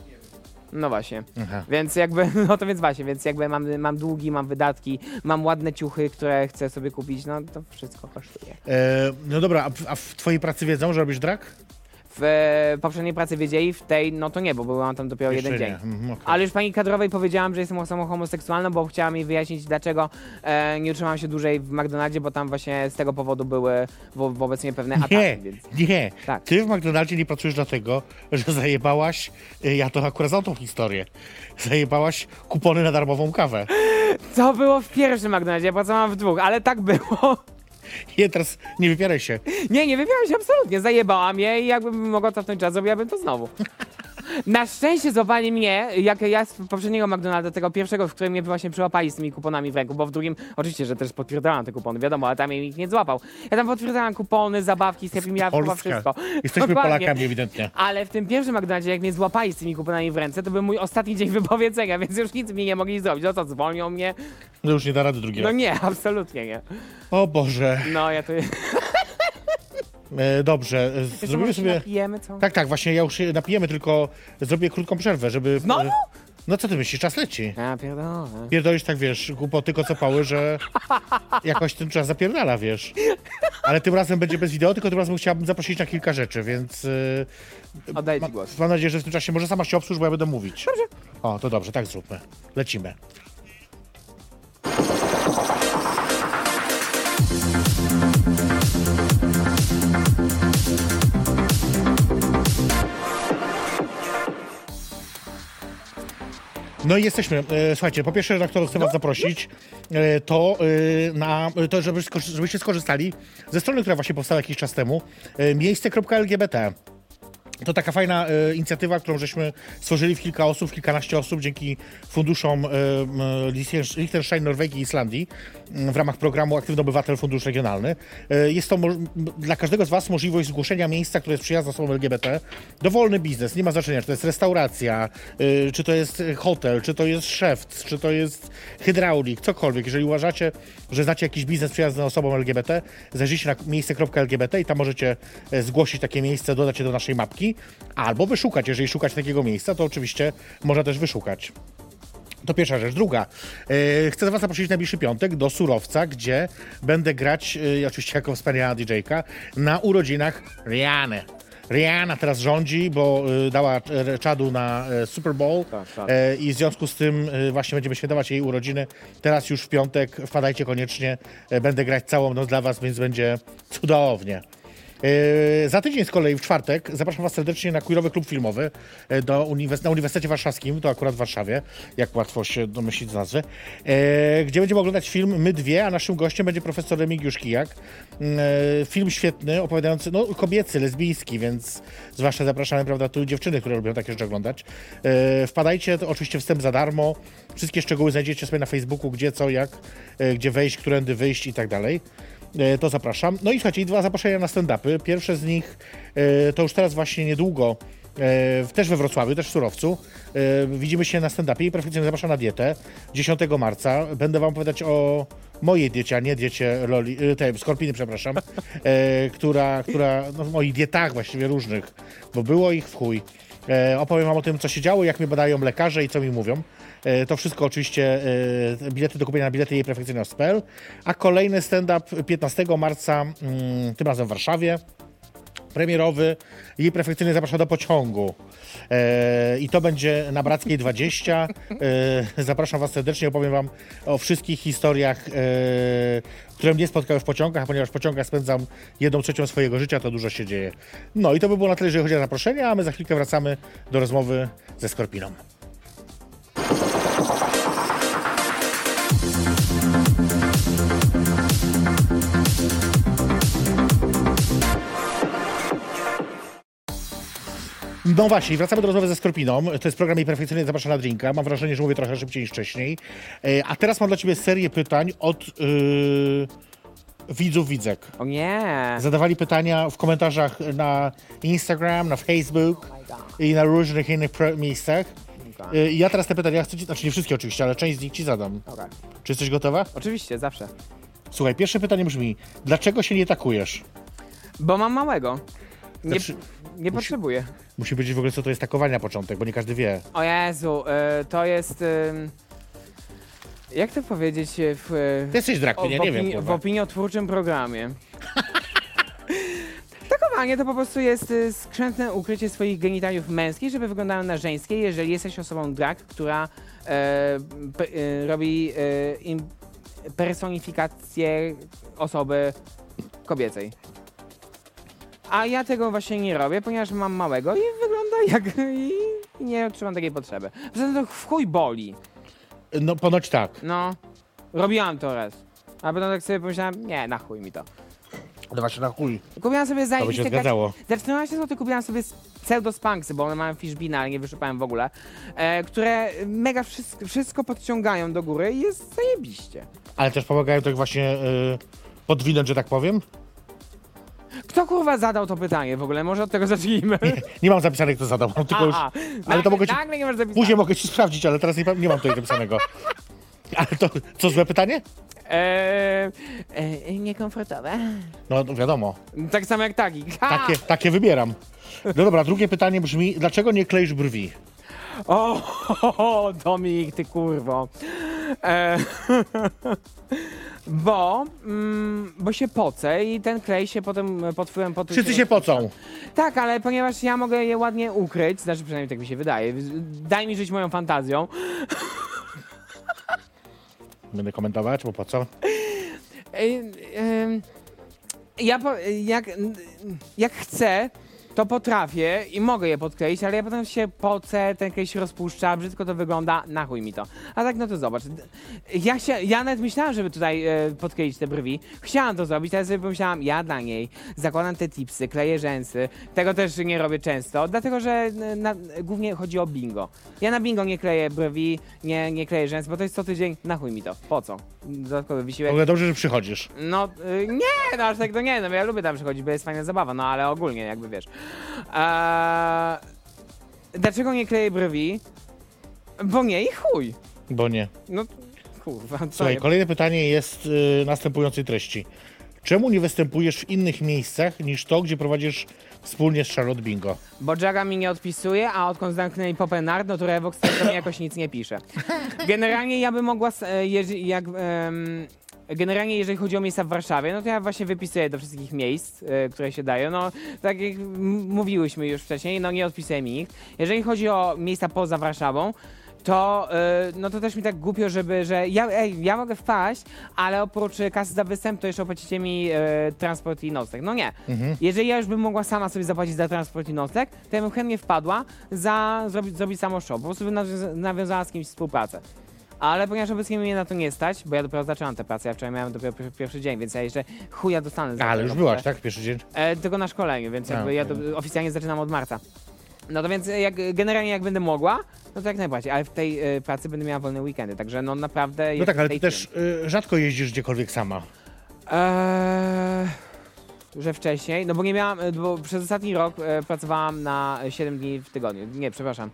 No właśnie. Aha. Więc jakby, no to więc właśnie, więc jakby mam, mam długi, mam wydatki, mam ładne ciuchy, które chcę sobie kupić, no to wszystko kosztuje. E, no dobra, a w, a w twojej pracy wiedzą, że robisz drag? W e, poprzedniej pracy wiedzieli, w tej no to nie, bo byłam tam dopiero Jeszcze jeden nie. dzień. Mhm, okej. Ale już pani kadrowej powiedziałam, że jestem osobą homoseksualną, bo chciała mi wyjaśnić, dlaczego e, nie utrzymałam się dłużej w McDonaldzie, bo tam właśnie z tego powodu były wo, wobec mnie pewne ataki. Nie, Więc... nie. Tak. Ty w McDonaldzie nie pracujesz dlatego, że zajebałaś, y, ja to akurat znam tą historię, zajebałaś kupony na darmową kawę. To było w pierwszym McDonaldzie, ja pracowałam w dwóch, ale tak było. Nie, teraz nie wypieraj się. Nie, nie wypiłam się absolutnie. Zajebałam je i jakbym mogła cofnąć czas, zrobiłabym to znowu. Na szczęście złapali mnie, jak ja z poprzedniego McDonalda, tego pierwszego, w którym mnie właśnie przyłapali z tymi kuponami w ręku, bo w drugim oczywiście, że też potwierdzałam te kupony, wiadomo, ale tam jej nikt nie złapał. Ja tam potwierdzałam kupony, zabawki, z Happy Meal, chyba wszystko. Jesteśmy Dokładnie. Polakami ewidentnie. Ale w tym pierwszym McDonaldzie, jak mnie złapali z tymi kuponami w ręce, to był mój ostatni dzień wypowiedzenia, więc już nic mi nie mogli zrobić. No co, zwolnią mnie? No już nie da rady drugi No raz. nie, absolutnie nie. O Boże. No, ja tu... E, dobrze, e, Jeszcze zrobimy może się sobie... napijemy, co? Tak, tak, właśnie ja już się napijemy, tylko zrobię krótką przerwę, żeby... Znowu? No co ty myślisz, czas leci. A, pierdolę. Pierdolisz tak, wiesz, głupoty kocopały, że jakoś ten czas zapierdala, wiesz. Ale tym razem będzie bez wideo, tylko tym razem chciałabym zaprosić na kilka rzeczy, więc y, Oddaję ma, ci głos. mam nadzieję, że w tym czasie może sama się obsłuż, bo ja będę mówić. Dobrze. O, to dobrze, tak zróbmy. Lecimy. No i jesteśmy. E, Słuchajcie, po pierwsze redaktorów chcę was zaprosić, e, to, e, na, to żeby, skorzy- żebyście skorzystali ze strony, która właśnie powstała jakiś czas temu, e, miejsce.lgbt. To taka fajna e, inicjatywa, którą żeśmy stworzyli w kilka osób, w kilkanaście osób dzięki funduszom e, m, Lichtenstein- Liechtenstein, Norwegii i Islandii m, w ramach programu Aktywny Obywatel Fundusz Regionalny. E, jest to mo- m, dla każdego z Was możliwość zgłoszenia miejsca, które jest przyjazne osobom LGBT. Dowolny biznes, nie ma znaczenia, czy to jest restauracja, e, czy to jest hotel, czy to jest szewc, czy to jest hydraulik, cokolwiek. Jeżeli uważacie, że znacie jakiś biznes przyjazny osobom LGBT, zajrzyjcie na miejsce.lgbt i tam możecie e, zgłosić takie miejsce, dodać je do naszej mapki, albo wyszukać. Jeżeli szukać takiego miejsca, to oczywiście można też wyszukać. To pierwsza rzecz. Druga. E, chcę Was zaprosić w najbliższy piątek do Surowca, gdzie będę grać, e, oczywiście jako wspaniała DJ-ka, na urodzinach Riany. Rihanna teraz rządzi, bo e, dała e, czadu na e, Super Bowl Tak, tak. E, i w związku z tym e, właśnie będziemy świętować jej urodziny. Teraz już w piątek wpadajcie koniecznie, E, będę grać całą noc dla was, więc będzie cudownie. E, Za tydzień z kolei w czwartek zapraszam Was serdecznie na Queerowy Klub Filmowy e, do uniwers- na Uniwersytecie Warszawskim, to akurat w Warszawie, jak łatwo się domyślić z nazwy, e, gdzie będziemy oglądać film My Dwie, a naszym gościem będzie profesor Remigiusz Kijak. Mm, e, Film świetny, opowiadający, no kobiecy, lesbijski, więc zwłaszcza zapraszamy, prawda, tu dziewczyny, które lubią takie rzeczy oglądać. E, Wpadajcie, to oczywiście wstęp za darmo, wszystkie szczegóły znajdziecie sobie na Facebooku, gdzie, co, jak, e, gdzie wejść, którędy wyjść i tak dalej. E, to zapraszam. No i słuchajcie, i dwa zaproszenia na stand-upy. Pierwsze z nich e, to już teraz właśnie niedługo, e, w- też we Wrocławiu, też w Surowcu. E, Widzimy się na stand-upie i perfekcyjnie zapraszam na dietę 10 marca. Będę wam opowiadać o mojej diecie, a nie diecie Loli, e, tej, Skorpiny, przepraszam, e, która, która, no w moich dietach właściwie różnych, bo było ich w chuj. E, opowiem wam o tym, co się działo, jak mnie badają lekarze i co mi mówią. E, to wszystko oczywiście e, bilety do kupienia na bilety jej perfekcyjność.pl. A kolejny stand-up 15 marca, mm, tym razem w Warszawie. Premierowy jej perfekcyjnie zaprasza do pociągu. E, I to będzie na Brackiej 20. E, zapraszam Was serdecznie, opowiem Wam o wszystkich historiach, e, które mnie spotkały w pociągach, a ponieważ w pociągach spędzam jedną trzecią swojego życia, to dużo się dzieje. No i to by było na tyle, jeżeli chodzi o zaproszenia, a my za chwilkę wracamy do rozmowy ze Skorpiną. No właśnie, wracamy do rozmowy ze Skorpiną. To jest program jej perfekcyjnie zaprasza na drinka. Mam wrażenie, że mówię trochę szybciej niż wcześniej. E, A teraz mam dla ciebie serię pytań od yy, widzów widzek. O nie! Zadawali pytania w komentarzach na Instagram, na Facebook i na różnych innych pro- miejscach. Okej. E, I ja teraz te pytania chcę ci, znaczy nie wszystkie oczywiście, ale część z nich ci zadam. Okej. Czy jesteś gotowa? Oczywiście, zawsze. Słuchaj, pierwsze pytanie brzmi, dlaczego się nie takujesz? Bo mam małego. Nie, Znaczy- nie potrzebuję. Musi być w ogóle co to jest takowanie na początek, bo nie każdy wie. O Jezu, y, to jest... ym, jak to powiedzieć y, w... y, Ty jesteś drag, o, nie, w, nie wiem. opini- w kurwa. opiniotwórczym programie. Takowanie to po prostu jest y, skrzętne ukrycie swoich genitaliów męskich, żeby wyglądały na żeńskie, jeżeli jesteś osobą drag, która e, pe- e, robi e, im personifikację osoby kobiecej. A ja tego właśnie nie robię, ponieważ mam małego i wygląda jak... i nie odczuwam takiej potrzeby. Poza tym to w chuj boli. No ponoć tak. No, robiłam to raz. A potem tak sobie pomyślałem, nie, na chuj mi to. No właśnie na chuj. Kupiłam sobie To by się zajebiste zgadzało. Za 14 zł kupiłam sobie pseudospanksy, bo one mają fishbina, ale nie wyszukałem w ogóle, e, które mega wszystko, wszystko podciągają do góry i jest zajebiście. Ale też pomagają tak właśnie y, podwinąć, że tak powiem. Kto kurwa zadał to pytanie w ogóle? Może od tego zacznijmy. Nie mam zapisane, kto zadał, mam tylko już... nagle, to mogę ci- nagle nie masz zapisać. Później mogę ci sprawdzić, ale teraz nie, pa- nie mam tutaj zapisanego. Ale to, co złe pytanie? E, e, niekomfortowe. No no wiadomo, Tak samo jak tagi. Ha! takie, takie wybieram. No dobra, drugie pytanie brzmi, dlaczego nie kleisz brwi? O, ho, ho, ho, Dominik, ty kurwo. E, bo, mm, bo się pocę i ten klej się potem pod wpływem potu... Wszyscy się pocą. Tak, ale ponieważ ja mogę je ładnie ukryć, znaczy przynajmniej tak mi się wydaje, daj mi żyć moją fantazją, Będę komentować, bo po co? Ej, em, Ja po, jak, jak chcę, to potrafię i mogę je podkleić, ale ja potem się pocę, ten klej się rozpuszcza, brzydko to wygląda, na chuj mi to. A tak, no to zobacz. D- Ja, się, ja nawet myślałam, żeby tutaj e, podkleić te brwi. Chciałam to zrobić, ale sobie pomyślałam, ja dla niej zakładam te tipsy, kleję rzęsy. Tego też nie robię często, dlatego że e, na, głównie chodzi o bingo. Ja na bingo nie kleję brwi, nie, nie kleję rzęs, bo to jest co tydzień, na chuj mi to. Po co? Dodatkowy W wysiłek. ogóle dobrze, że przychodzisz. No y, nie, no aż tak to nie, no ja lubię tam przychodzić, bo jest fajna zabawa, no ale ogólnie jakby wiesz. Eee, dlaczego nie kleję brwi? Bo nie i chuj. Bo nie. No kurwa, co Słuchaj, je- kolejne pytanie jest y, następującej treści. Czemu nie występujesz w innych miejscach niż to, gdzie prowadzisz wspólnie z Charlotte Bingo? Bo Jaga mi nie odpisuje, a odkąd zamknęli Popenard, no to Revox to mi jakoś nic nie pisze. Generalnie ja bym mogła, s- e, jeżeli, jak, em, generalnie jeżeli chodzi o miejsca w Warszawie, no to ja właśnie wypisuję do wszystkich miejsc, e, które się dają. No tak jak m- mówiłyśmy już wcześniej, no nie odpisuje mi nikt. Jeżeli chodzi o miejsca poza Warszawą, to, e, no to też mi tak głupio, żeby, że ja, ej, ja mogę wpaść, ale oprócz e, kasy za występ, to jeszcze opłacicie mi e, transport i nocleg. No nie. Mhm. Jeżeli ja już bym mogła sama sobie zapłacić za transport i nocleg, to ja bym chętnie wpadła za zrobić, zrobić samo show. Po prostu bym nawiąza- nawiązała z kimś współpracę. Ale ponieważ obecnie mnie na to nie stać, bo ja dopiero zaczęłam tę pracę, ja wczoraj miałem dopiero pier- pierwszy dzień, więc ja jeszcze chuja dostanę. za Ale tę już robotę. byłaś, tak? Pierwszy dzień? E, tylko na szkoleniu, więc A, jakby ja to, oficjalnie zaczynam od marca. No to więc e, jak, generalnie jak będę mogła, no to jak najbardziej, ale w tej e, pracy będę miała wolne weekendy, także no naprawdę... No jest tak, ale ty tej też y, rzadko jeździsz gdziekolwiek sama. Eee, że wcześniej, no bo nie miałam, e, bo przez ostatni rok e, pracowałam na 7 dni w tygodniu. Nie, przepraszam.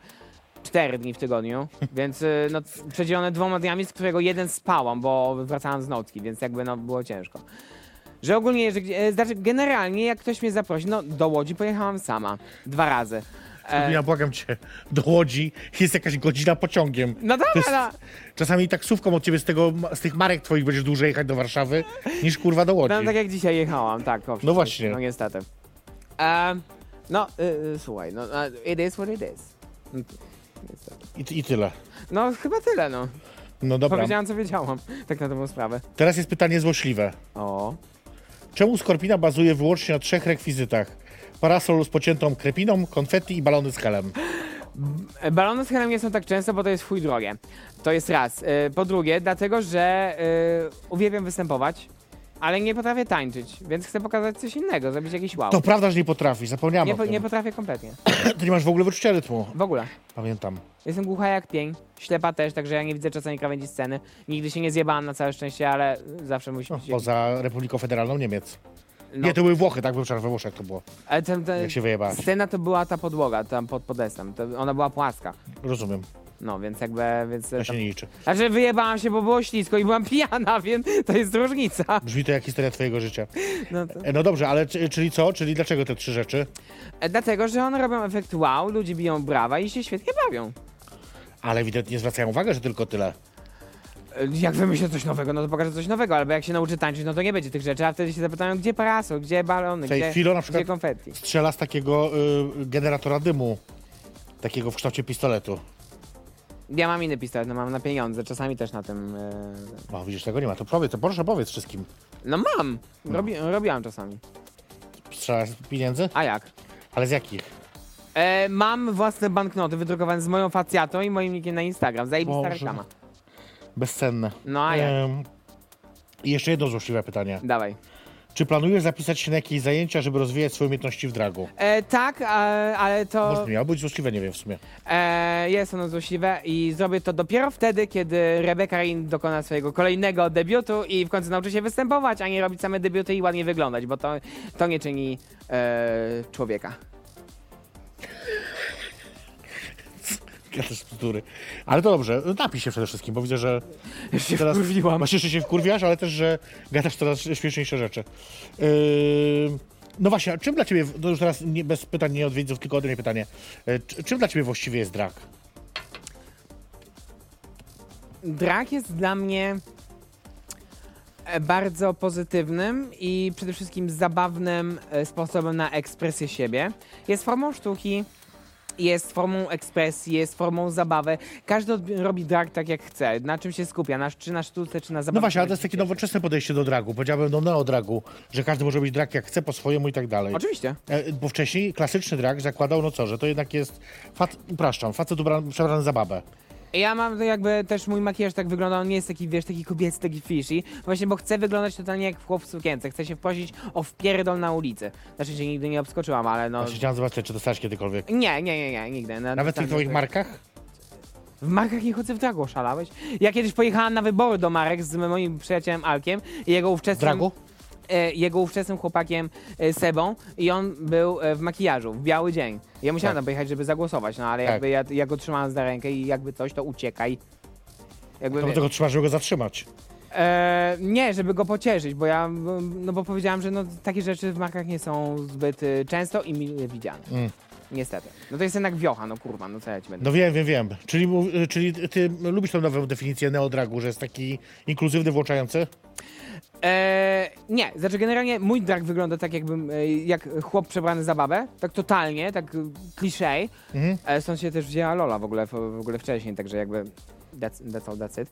4 dni w tygodniu, więc e, no, c- przedzielone dwoma dniami, z którego jeden spałam, bo wracałam z nocki, więc jakby no, było ciężko. Że ogólnie, że, gdzie- e, znaczy generalnie jak ktoś mnie zaprosi, no do Łodzi pojechałam sama. Dwa razy. E, Ja błagam cię, do Łodzi jest jakaś godzina pociągiem. no To dobra, jest- no. Czasami taksówką od ciebie z, tego, z tych marek twoich będziesz dłużej jechać do Warszawy niż kurwa do Łodzi. No tak jak dzisiaj jechałam, tak. Owszem, No właśnie. No niestety. Em, no, y, y, słuchaj, no, a, it is what it is. Niestety. I, I tyle. No chyba tyle, no. No dobra. Powiedziałam, co wiedziałam, tak na dobrą sprawę. Teraz jest pytanie złośliwe. O. Czemu Skorpina bazuje wyłącznie na trzech rekwizytach? Parasol z pociętą krepiną, konfetti i balony z helem. E, Balony z helem nie są tak często, bo to jest chuj drogie. To jest raz. E, Po drugie, dlatego, że e, uwielbiam występować, ale nie potrafię tańczyć, więc chcę pokazać coś innego, zrobić jakiś wow. To prawda, że nie potrafisz, zapomniałam Nie, o po, tym. nie potrafię kompletnie. Ty nie masz w ogóle wyczucia rytmu. W ogóle. Pamiętam. Jestem głucha jak pień, ślepa też, także ja nie widzę czasami krawędzi sceny. Nigdy się nie zjebałam na całe szczęście, ale zawsze musi No, być... poza Republiką Federalną Niemiec. no. Nie, to były Włochy, tak? Wypraszam, we Włoszech to było. Ale tam, tam, Jak się wyjebałaś. Scena to była ta podłoga, tam pod podestem. To ona była płaska. Rozumiem, No, więc jakby... Więc to tam... się nie liczy. Znaczy wyjebałam się, bo było ślisko i byłam pijana, więc to jest różnica. Brzmi to jak historia twojego życia. No to... E, No dobrze, ale czy- czyli co? Czyli dlaczego te trzy rzeczy? E, Dlatego, że one robią efekt wow, ludzie biją brawa i się świetnie bawią. Ale ewidentnie zwracają uwagę, że tylko tyle. E, Jak wymyślę coś nowego, no to pokażę coś nowego, albo jak się nauczy tańczyć, no to nie będzie tych rzeczy, a wtedy się zapytają, gdzie parasol, gdzie balony, W tej gdzie, chwili na gdzie przykład konfetti. strzela z takiego y, generatora dymu. Takiego w kształcie pistoletu. Ja mam inny pistolet, no mam na pieniądze, czasami też na tym... e, No widzisz, tego nie ma. To powiedz, to proszę powiedz wszystkim. No mam, Robi, robiłam czasami. Strzela z pieniędzy? A jak? Ale z jakich? E, mam własne banknoty wydrukowane z moją facjatą i moim nikiem na Instagram, zajebista Boże. E. reklama. Bezcenne. No a jak? Em, I jeszcze jedno złośliwe pytanie. Dawaj. Czy planujesz zapisać się na jakieś zajęcia, żeby rozwijać swoje umiejętności w dragu? E, tak, ale, ale to... Może miało być złośliwe, nie wiem w sumie. E, jest ono złośliwe i zrobię to dopiero wtedy, kiedy Rebecca Rain dokona swojego kolejnego debiutu i w końcu nauczy się występować, a nie robić same debiuty i ładnie wyglądać, bo to, to nie czyni e, człowieka. Ja też z kultury. Ale to dobrze, napij się przede wszystkim, bo widzę, że się teraz... wkurwiłam. Właśnie, że się wkurwiasz, ale też, że gadasz coraz śmieszniejsze rzeczy. Yy... No właśnie, a czym dla ciebie, to już teraz nie, bez pytań nie od widzów, tylko ode mnie pytanie. Yy, czy- Czym dla ciebie właściwie jest drag? No Drag jest dla mnie e, bardzo pozytywnym i przede wszystkim zabawnym e, sposobem na ekspresję siebie. Jest formą sztuki, jest formą ekspresji, jest formą zabawy. Każdy odbi- robi drag tak jak chce, na czym się skupia, na, czy na sztuce, czy na zabawie. No właśnie, ale to jest takie nowoczesne podejście do dragu. Powiedziałbym no, do neodragu, że każdy może robić drag jak chce, po swojemu i tak dalej. Oczywiście. E, Bo wcześniej klasyczny drag zakładał, no co, że to jednak jest, fac, upraszczam, facet ubrany, przebrany za babę. Ja mam to jakby też mój makijaż tak wygląda, on nie jest taki, wiesz, taki kobiecy, taki fishy. Właśnie, bo chcę wyglądać totalnie jak chłop w sukience. Chcę się prosić o wpierdol na ulicy. Znaczy, że nigdy nie obskoczyłam, ale Tak, no... Znaczy, chciałem zobaczyć, czy dostałeś kiedykolwiek. Nie, nie, nie, nie, nigdy. Na- Nawet w tam- tych twoich markach? W markach nie chodzę w dragu, oszalałeś? Ja kiedyś pojechałam na wybory do marek z moim przyjacielem Alkiem i jego W ówczesnym... dragu? e, jego ówczesnym chłopakiem e, Sebą i on był e, w makijażu, w biały dzień. Ja musiałam Tak. tam pojechać, żeby zagłosować, no ale Tak. jakby ja, ja go trzymałam za rękę i jakby coś, to uciekaj. Jakby, To wie- tego trzeba, żeby go zatrzymać. E, nie, żeby go pocieszyć, bo ja, m, no bo powiedziałam, że no, takie rzeczy w markach nie są zbyt y, często i mile widziane. Mm. Niestety. No to jest jednak wiocha, no kurwa, no co ja ci będę... No wiem, wiem, wiem. Czyli, mów- y, czyli ty lubisz tą nową definicję neodragu, że jest taki inkluzywny, włączający? E, nie, znaczy generalnie mój drag wygląda tak jakbym, e, jak chłop przebrany za babę, tak totalnie, tak y, kliszej. Mhm. E, stąd się też wzięła Lola w ogóle, w, w ogóle wcześniej, także jakby that's, that's all, that's it.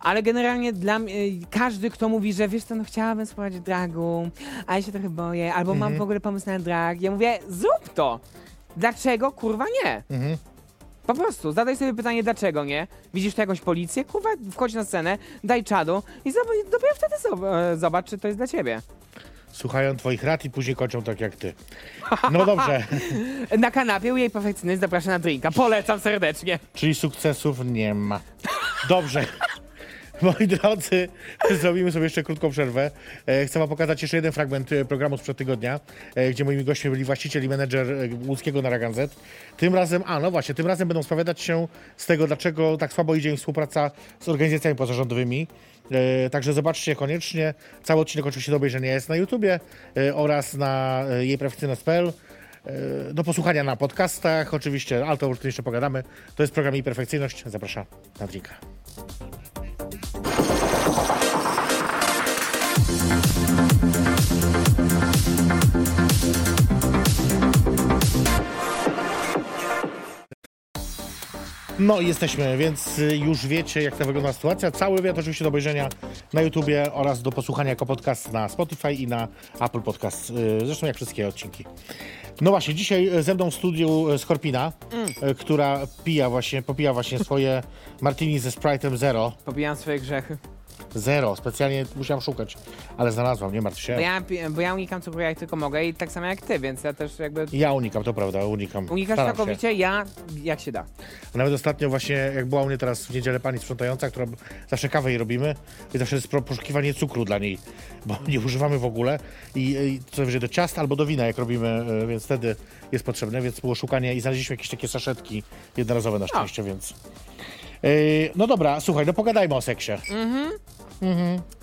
Ale generalnie dla mnie, e, każdy, kto mówi, że wiesz co, no chciałabym spróbować dragu, a ja się trochę boję, albo mam w ogóle pomysł na drag, ja mówię, zrób to! Dlaczego, kurwa, nie? Mhm. Po prostu, zadaj sobie pytanie, dlaczego nie? Widzisz tu jakąś policję? Kurwa, wchodź na scenę, daj czadu i zob- dopiero wtedy zob- e, zobacz, czy to jest dla ciebie. Słuchają twoich rad i później kończą tak jak ty. No dobrze, Na kanapie u jej perfekcjonist zaprasza na drinka. Polecam serdecznie. czyli sukcesów nie ma. Dobrze. Moi drodzy, zrobimy sobie jeszcze krótką przerwę. E, Chcę wam pokazać jeszcze jeden fragment e, programu sprzed tygodnia, e, gdzie moimi gośćmi byli właściciel i menedżer e, łódzkiego Naraganzet. Tym razem, a no właśnie, tym razem będą spowiadać się z tego, dlaczego tak słabo idzie im współpraca z organizacjami pozarządowymi. E, Także zobaczcie koniecznie. Cały odcinek oczywiście do obejrzenia jest na YouTubie e, oraz na e, jejperfekcyjność.pl. E, Do posłuchania na podcastach, oczywiście, ale to o tym jeszcze pogadamy. To jest program Perfekcyjność. Zapraszam na drinka. No i jesteśmy, więc y, już wiecie, jak to wygląda sytuacja. Cały wywiad oczywiście do obejrzenia na YouTubie oraz do posłuchania jako podcast na Spotify i na Apple Podcast. y, Zresztą jak wszystkie odcinki. No właśnie, dzisiaj y, ze mną w studiu y, Skorpina, y, która pija właśnie, popija właśnie swoje martini ze Sprite'em Zero. Popijam swoje grzechy. Zero, specjalnie musiałam szukać, ale znalazłam, nie martw się. Bo ja, pi- bo ja unikam cukru jak tylko mogę i tak samo jak ty, więc ja też jakby... Ja unikam, to prawda, unikam. Unikasz Staram się. całkowicie, ja jak się da. Nawet ostatnio właśnie, jak była u mnie teraz w niedzielę pani sprzątająca, która zawsze kawę jej robimy i zawsze jest pro- poszukiwanie cukru dla niej, bo nie używamy w ogóle i, i co najwyżej do ciasta albo do wina, jak robimy, e, więc wtedy jest potrzebne, więc było szukanie i znaleźliśmy jakieś takie saszetki jednorazowe na szczęście, więc... E, no dobra, słuchaj, no pogadajmy o seksie.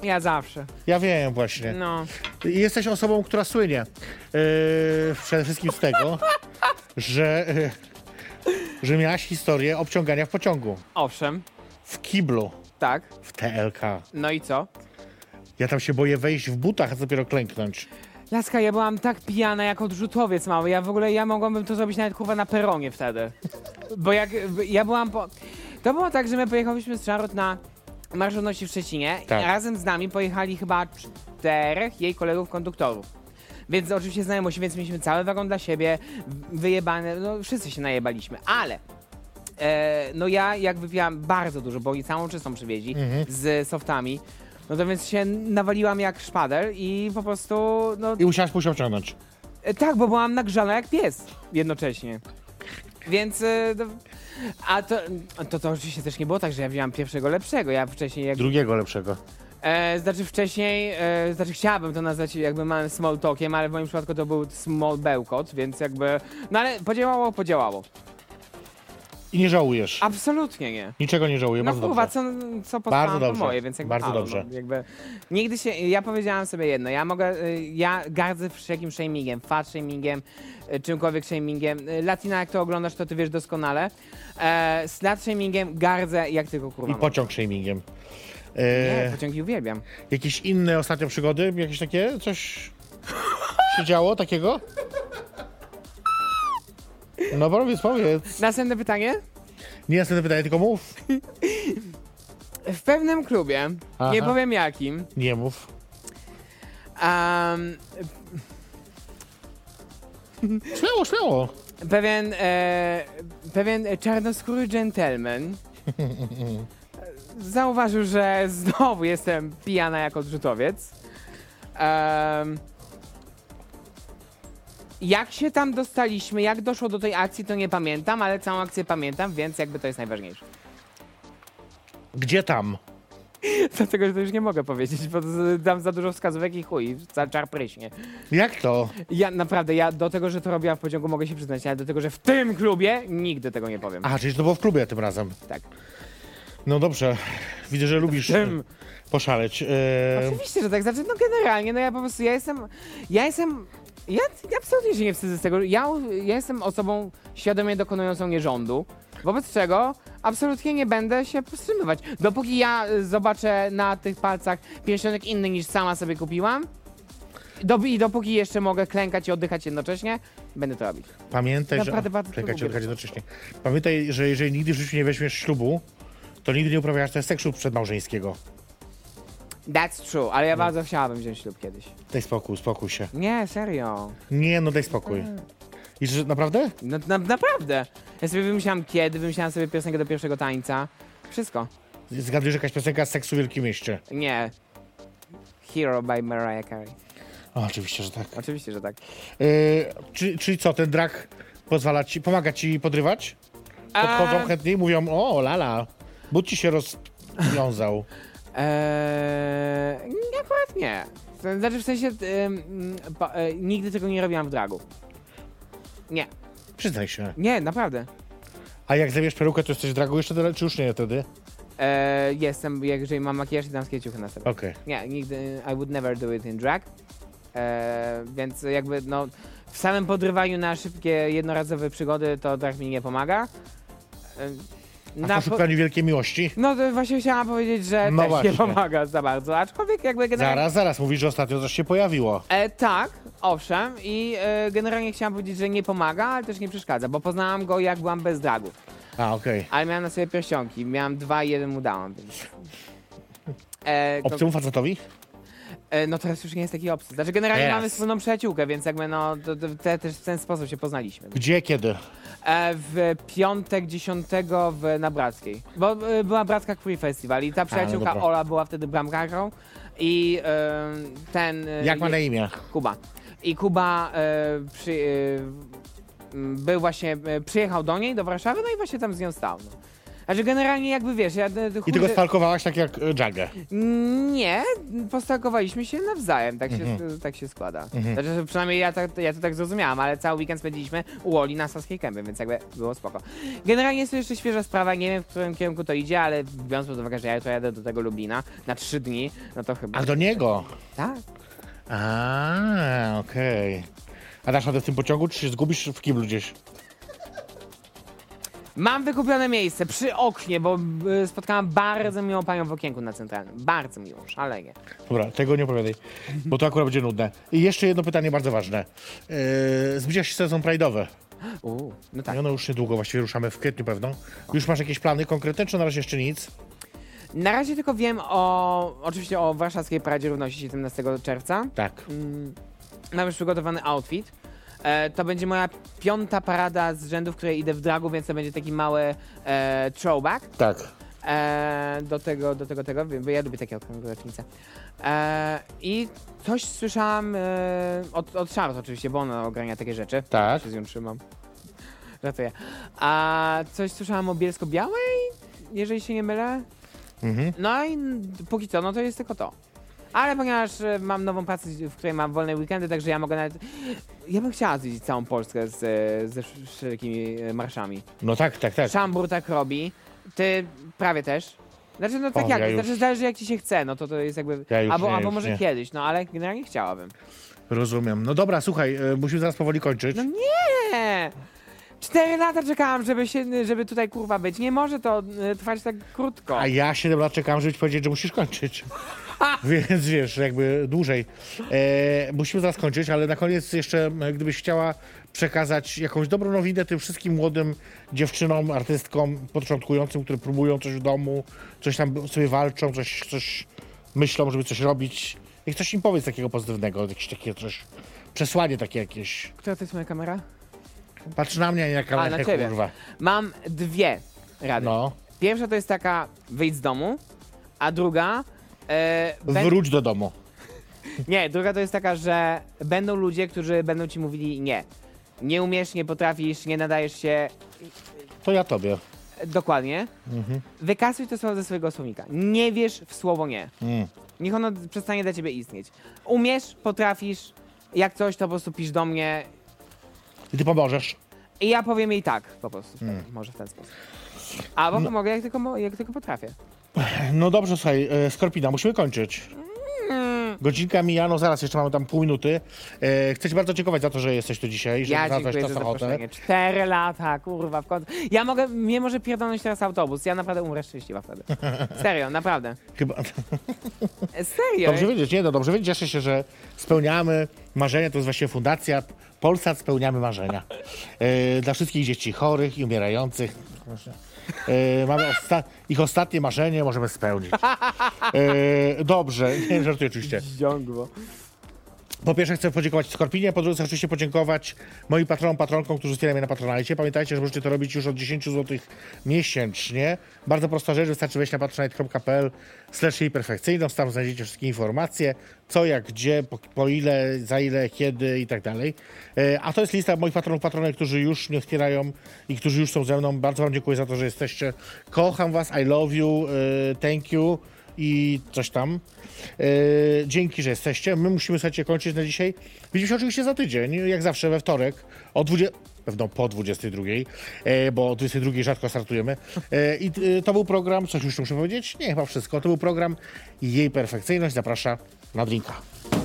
Ja zawsze. Ja wiem właśnie. No. Jesteś osobą, która słynie. e, przede wszystkim z tego, że... e, że miałaś historię obciągania w pociągu, Owszem, w kiblu. tak. W TLK. No i co? Ja tam się boję wejść w butach, a dopiero klęknąć. Laska, ja byłam tak pijana jak odrzutowiec mały. Ja w ogóle, ja mogłabym to zrobić nawet kurwa na peronie wtedy. Bo jak, ja byłam po... To było tak, że my pojechałyśmy z Czarot na Marsz Równości w Szczecinie Tak. i razem z nami pojechali chyba czterech jej kolegów konduktorów. Więc oczywiście znajomości, więc mieliśmy cały wagon dla siebie, w- wyjebane, no wszyscy się najebaliśmy, ale e, no ja jak wypiłam bardzo dużo, bo i całą czystą przywieźli Mhm. z softami, no to więc się nawaliłam jak szpadel i po prostu, no I musiałaś pójść obciągnąć. E, Tak, bo byłam nagrzana jak pies jednocześnie. Więc. e, no, A to, to to oczywiście też nie było tak, że ja wzięłam pierwszego lepszego. Ja wcześniej jak. Drugiego lepszego. E, znaczy wcześniej, e, znaczy chciałabym to nazwać jakby małym small talkiem, ale w moim przypadku to był small bełkot, więc jakby. No ale podziałało, podziałało. I nie żałujesz. Absolutnie nie. Niczego nie żałuję, No bardzo kurwa, dobrze. co, co poznałam, to dobrze. moje, więc jakby, Bardzo halo, dobrze. No, jakby Nigdy się, ja powiedziałam sobie jedno, ja mogę, y, ja gardzę wszelkim shamingiem, fat shamingiem, y, czymkolwiek shamingiem. Y, Latina, jak to oglądasz, to ty wiesz doskonale. E, slut shamingiem gardzę jak tylko kurwa I mogę. pociąg shamingiem. Nie, E, pociągi uwielbiam. jakieś inne ostatnio przygody? Jakieś takie? Coś się działo takiego? No powiedz, powiedz. Następne pytanie. Nie następne pytanie, tylko mów. W pewnym klubie, Aha. nie powiem jakim, Nie mów. em, Śmiało, śmiało. pewien, e, pewien czarnoskóry gentleman zauważył, że znowu jestem pijana jak odrzutowiec. Em, jak się tam dostaliśmy, jak doszło do tej akcji, to nie pamiętam, ale całą akcję pamiętam, więc jakby to jest najważniejsze. Gdzie tam? Dlatego, że to już nie mogę powiedzieć, bo z- dam za dużo wskazówek i chuj, ca- czar pryśnie. Jak to? Ja naprawdę, ja do tego, że to robiłam w pociągu, mogę się przyznać, ale do tego, że w tym klubie nigdy tego nie powiem. A, czyli to było w klubie tym razem. tak. No dobrze. Widzę, że lubisz Tym. poszaleć. E, Oczywiście, że tak. Znaczy, no generalnie, no ja po prostu, ja jestem, ja jestem, ja, ja absolutnie się nie wstydzę z tego. Ja, ja jestem osobą świadomie dokonującą nierządu, wobec czego absolutnie nie będę się powstrzymywać. Dopóki ja y, zobaczę na tych palcach pierścionek inny niż sama sobie kupiłam, dop- i dopóki jeszcze mogę klękać i oddychać jednocześnie, będę to robić. Pamiętaj, Naprawdę że... bardzo Czekaj, lubię. czekaj, jednocześnie. Pamiętaj, że jeżeli nigdy w życiu nie weźmiesz ślubu, to nigdy nie uprawiasz też seksu przedmałżeńskiego. That's true, ale ja bardzo chciałabym wziąć ślub kiedyś. Daj spokój, spokój się. Nie, serio. Nie, no daj spokój. Mm. I że naprawdę? No, na, naprawdę. Ja sobie wymyślałam kiedy, wymyślałam sobie piosenkę do pierwszego tańca. Wszystko. Zgadujesz jakaś piosenka z seksu w Wielkim Mieście. Nie. Hero by Mariah Carey. O, oczywiście, że tak. Oczywiście, że tak. Yy, czy, czyli co, ten drag pozwala ci, pomaga ci podrywać? Podchodzą Eee. chętnie i mówią, o lala, but ci się rozwiązał. Eee, nie, akurat nie. To Znaczy w sensie, em, pa, e, nigdy tego nie robiłam w dragu. Nie, Przyznaj się. nie, naprawdę. A jak zabierz perukę, to jesteś w dragu jeszcze, tyle, czy już nie wtedy? Eee, jestem, jak- jeżeli mam makijaż i damskie ciuchy na sobie. Okej. Nie, nigdy, I would never do it in drag. Eee, więc jakby no, w samym podrywaniu na szybkie, jednorazowe przygody to drag mi nie pomaga. Eee, A na w po- szukaniu wielkiej miłości? No to właśnie chciałam powiedzieć, że No też nie właśnie. pomaga za bardzo, aczkolwiek jakby generalnie... Zaraz, zaraz, mówisz, że ostatnio coś się pojawiło. E, tak, owszem i e, generalnie chciałam powiedzieć, że nie pomaga, ale też nie przeszkadza, bo poznałam go jak byłam bez dragu, A, okej. ale miałam na sobie pierścionki, miałam dwa i jeden mu dałam, więc... E, ko- Obcemu facetowi? e, no teraz już nie jest taki obcy. Znaczy generalnie Teraz. mamy wspólną przyjaciółkę, więc jakby no to, to, te, też w ten sposób się poznaliśmy. Gdzie, kiedy? E, w piątek 10 w, na Brackiej. Bo e, była Bracka Queer Festival i ta przyjaciółka no dobra. Ola była wtedy bramkarką i e, ten... e, Jak ma je- na imię? Kuba. I Kuba e, przy, e, m, był właśnie, e, przyjechał do niej, do Warszawy, no i właśnie tam z nią stał. No. Znaczy generalnie jakby wiesz, ja... e, I ty chudy- go spalkowałaś tak jak y, Jagę. Nie, postakowaliśmy się nawzajem, tak, się, tak się składa. Znaczy, że przynajmniej ja, tak, ja to tak zrozumiałam, ale cały weekend spędziliśmy u Oli na Saskiej Kępy, więc jakby było spoko. Generalnie jest to jeszcze świeża sprawa, nie wiem w którym kierunku to idzie, ale biorąc pod uwagę, że ja jutro jadę do tego Lublina na trzy dni, no to chyba... A do niego? Tak. A, okej. A dasz radę w tym pociągu, czy się zgubisz w kiblu gdzieś? Mam wykupione miejsce przy oknie, bo y, spotkałam bardzo miłą panią w okienku na centralnym. Bardzo miłą, szalenie. Dobra, tego nie opowiadaj, bo to akurat będzie nudne. I jeszcze jedno pytanie bardzo ważne. Yy, zbliża się sezon Pride'owy. Uuu, no tak. Tak. Ono już niedługo, właściwie ruszamy w kwietniu pewno. Już masz jakieś plany konkretne, czy na razie jeszcze nic? Na razie tylko wiem o, oczywiście o warszawskiej Paradzie Równości 17 czerwca. Tak. Mam już przygotowany outfit. E, to będzie moja piąta parada z rzędu, w której idę w dragu, więc to będzie taki mały e, throwback. Tak. E, do tego, do tego, tego, bo ja lubię takie okrągłe rocznice. E, I coś słyszałam e, od, od Charlotte oczywiście, bo ona ogarnia takie rzeczy. Tak. Się z nią trzymam. Żartuję. A coś słyszałam o Bielsko-Białej, jeżeli się nie mylę. No i n- póki co, no to jest tylko to. Ale ponieważ e, mam nową pracę, w której mam wolne weekendy, także ja mogę nawet... Ja bym chciała zwiedzić całą Polskę z, e, ze sz- wszelkimi e, marszami. No tak, tak, tak. Szambur tak robi, ty prawie też. Znaczy, no tak O, jak, ja już- znaczy zależy jak ci się chce, no to to jest jakby... Ja już albo nie, albo już może nie. kiedyś, no ale generalnie chciałabym. Rozumiem. No dobra, słuchaj, e, musimy zaraz powoli kończyć. No nie! Cztery lata czekałam, żeby, się, żeby tutaj kurwa być. Nie może to y, trwać tak krótko. A ja 7 lat czekałem, żeby ci powiedzieć, że musisz kończyć. Więc wiesz, jakby dłużej. E, musimy zaraz kończyć, ale na koniec jeszcze, m, gdybyś chciała przekazać jakąś dobrą nowinę tym wszystkim młodym dziewczynom, artystkom, początkującym, które próbują coś w domu, coś tam sobie walczą, coś, coś myślą, żeby coś robić. I coś im powiedz takiego pozytywnego, jakieś takie coś, przesłanie takie jakieś. Która to jest moja kamera? Patrz na mnie, jaka A, na ciebie. kurwa. Mam dwie rady. No, Pierwsza to jest taka, wyjdź z domu, a druga... E, ben- wróć do domu. nie, druga to jest taka, że będą ludzie, którzy będą ci mówili nie. Nie umiesz, nie potrafisz, nie nadajesz się, To ja tobie. Dokładnie. Mhm. Wykasuj to słowo ze swojego słownika. Nie wierz w słowo nie. Mm. Niech ono przestanie dla ciebie istnieć. Umiesz, potrafisz, jak coś, to po prostu pisz do mnie I ty pomożesz. i ja powiem jej tak po prostu. Mm. Tak, może w ten sposób. Albo pomogę, jak tylko, mo- jak tylko potrafię. No dobrze, słuchaj, e, Skorpina, musimy kończyć. Mm. Godzinka mija, no zaraz, jeszcze mamy tam pół minuty. E, chcę ci bardzo dziękować za to, że jesteś tu dzisiaj, że Ja znalazłeś dziękuję za czas ochotę. zaproszenie. Cztery lata, kurwa, w końcu. Ja mogę, mnie może pierdolnąć teraz autobus. Ja naprawdę umrę szczęśliwa wtedy. Serio, naprawdę. Chyba, Serio. dobrze wiedzieć, nie no, dobrze wiedzieć, cieszę się, że spełniamy marzenia, to jest właśnie fundacja Polsat Spełniamy Marzenia. E, dla wszystkich dzieci chorych i umierających. E, mamy osta- ich ostatnie marzenie możemy spełnić. E, dobrze, nie żartuję oczywiście. Zdziągło. Po pierwsze chcę podziękować Skorpinie, po drugie chcę oczywiście podziękować moim patronom, patronkom, którzy wspierają mnie na Patronite. Pamiętajcie, że możecie to robić już od 10 zł miesięcznie. Bardzo prosta rzecz, wystarczy wejść na patronite.pl slash jej perfekcyjną, tam znajdziecie wszystkie informacje, co, jak, gdzie, po, po ile, za ile, kiedy i tak dalej. E, A to jest lista moich patronów, patronek, którzy już mnie wspierają i którzy już są ze mną. Bardzo wam dziękuję za to, że jesteście. Kocham was, I love you, e, thank you i coś tam. E, dzięki, że jesteście. My musimy, słuchajcie, kończyć na dzisiaj. Widzimy się oczywiście za tydzień, jak zawsze we wtorek o 20... Pewno po 22, e, bo o 22 rzadko startujemy. E, I e, to był program, coś już tu muszę powiedzieć? Nie, chyba wszystko. To był program Jej Perfekcyjność. Zaprasza na drinka.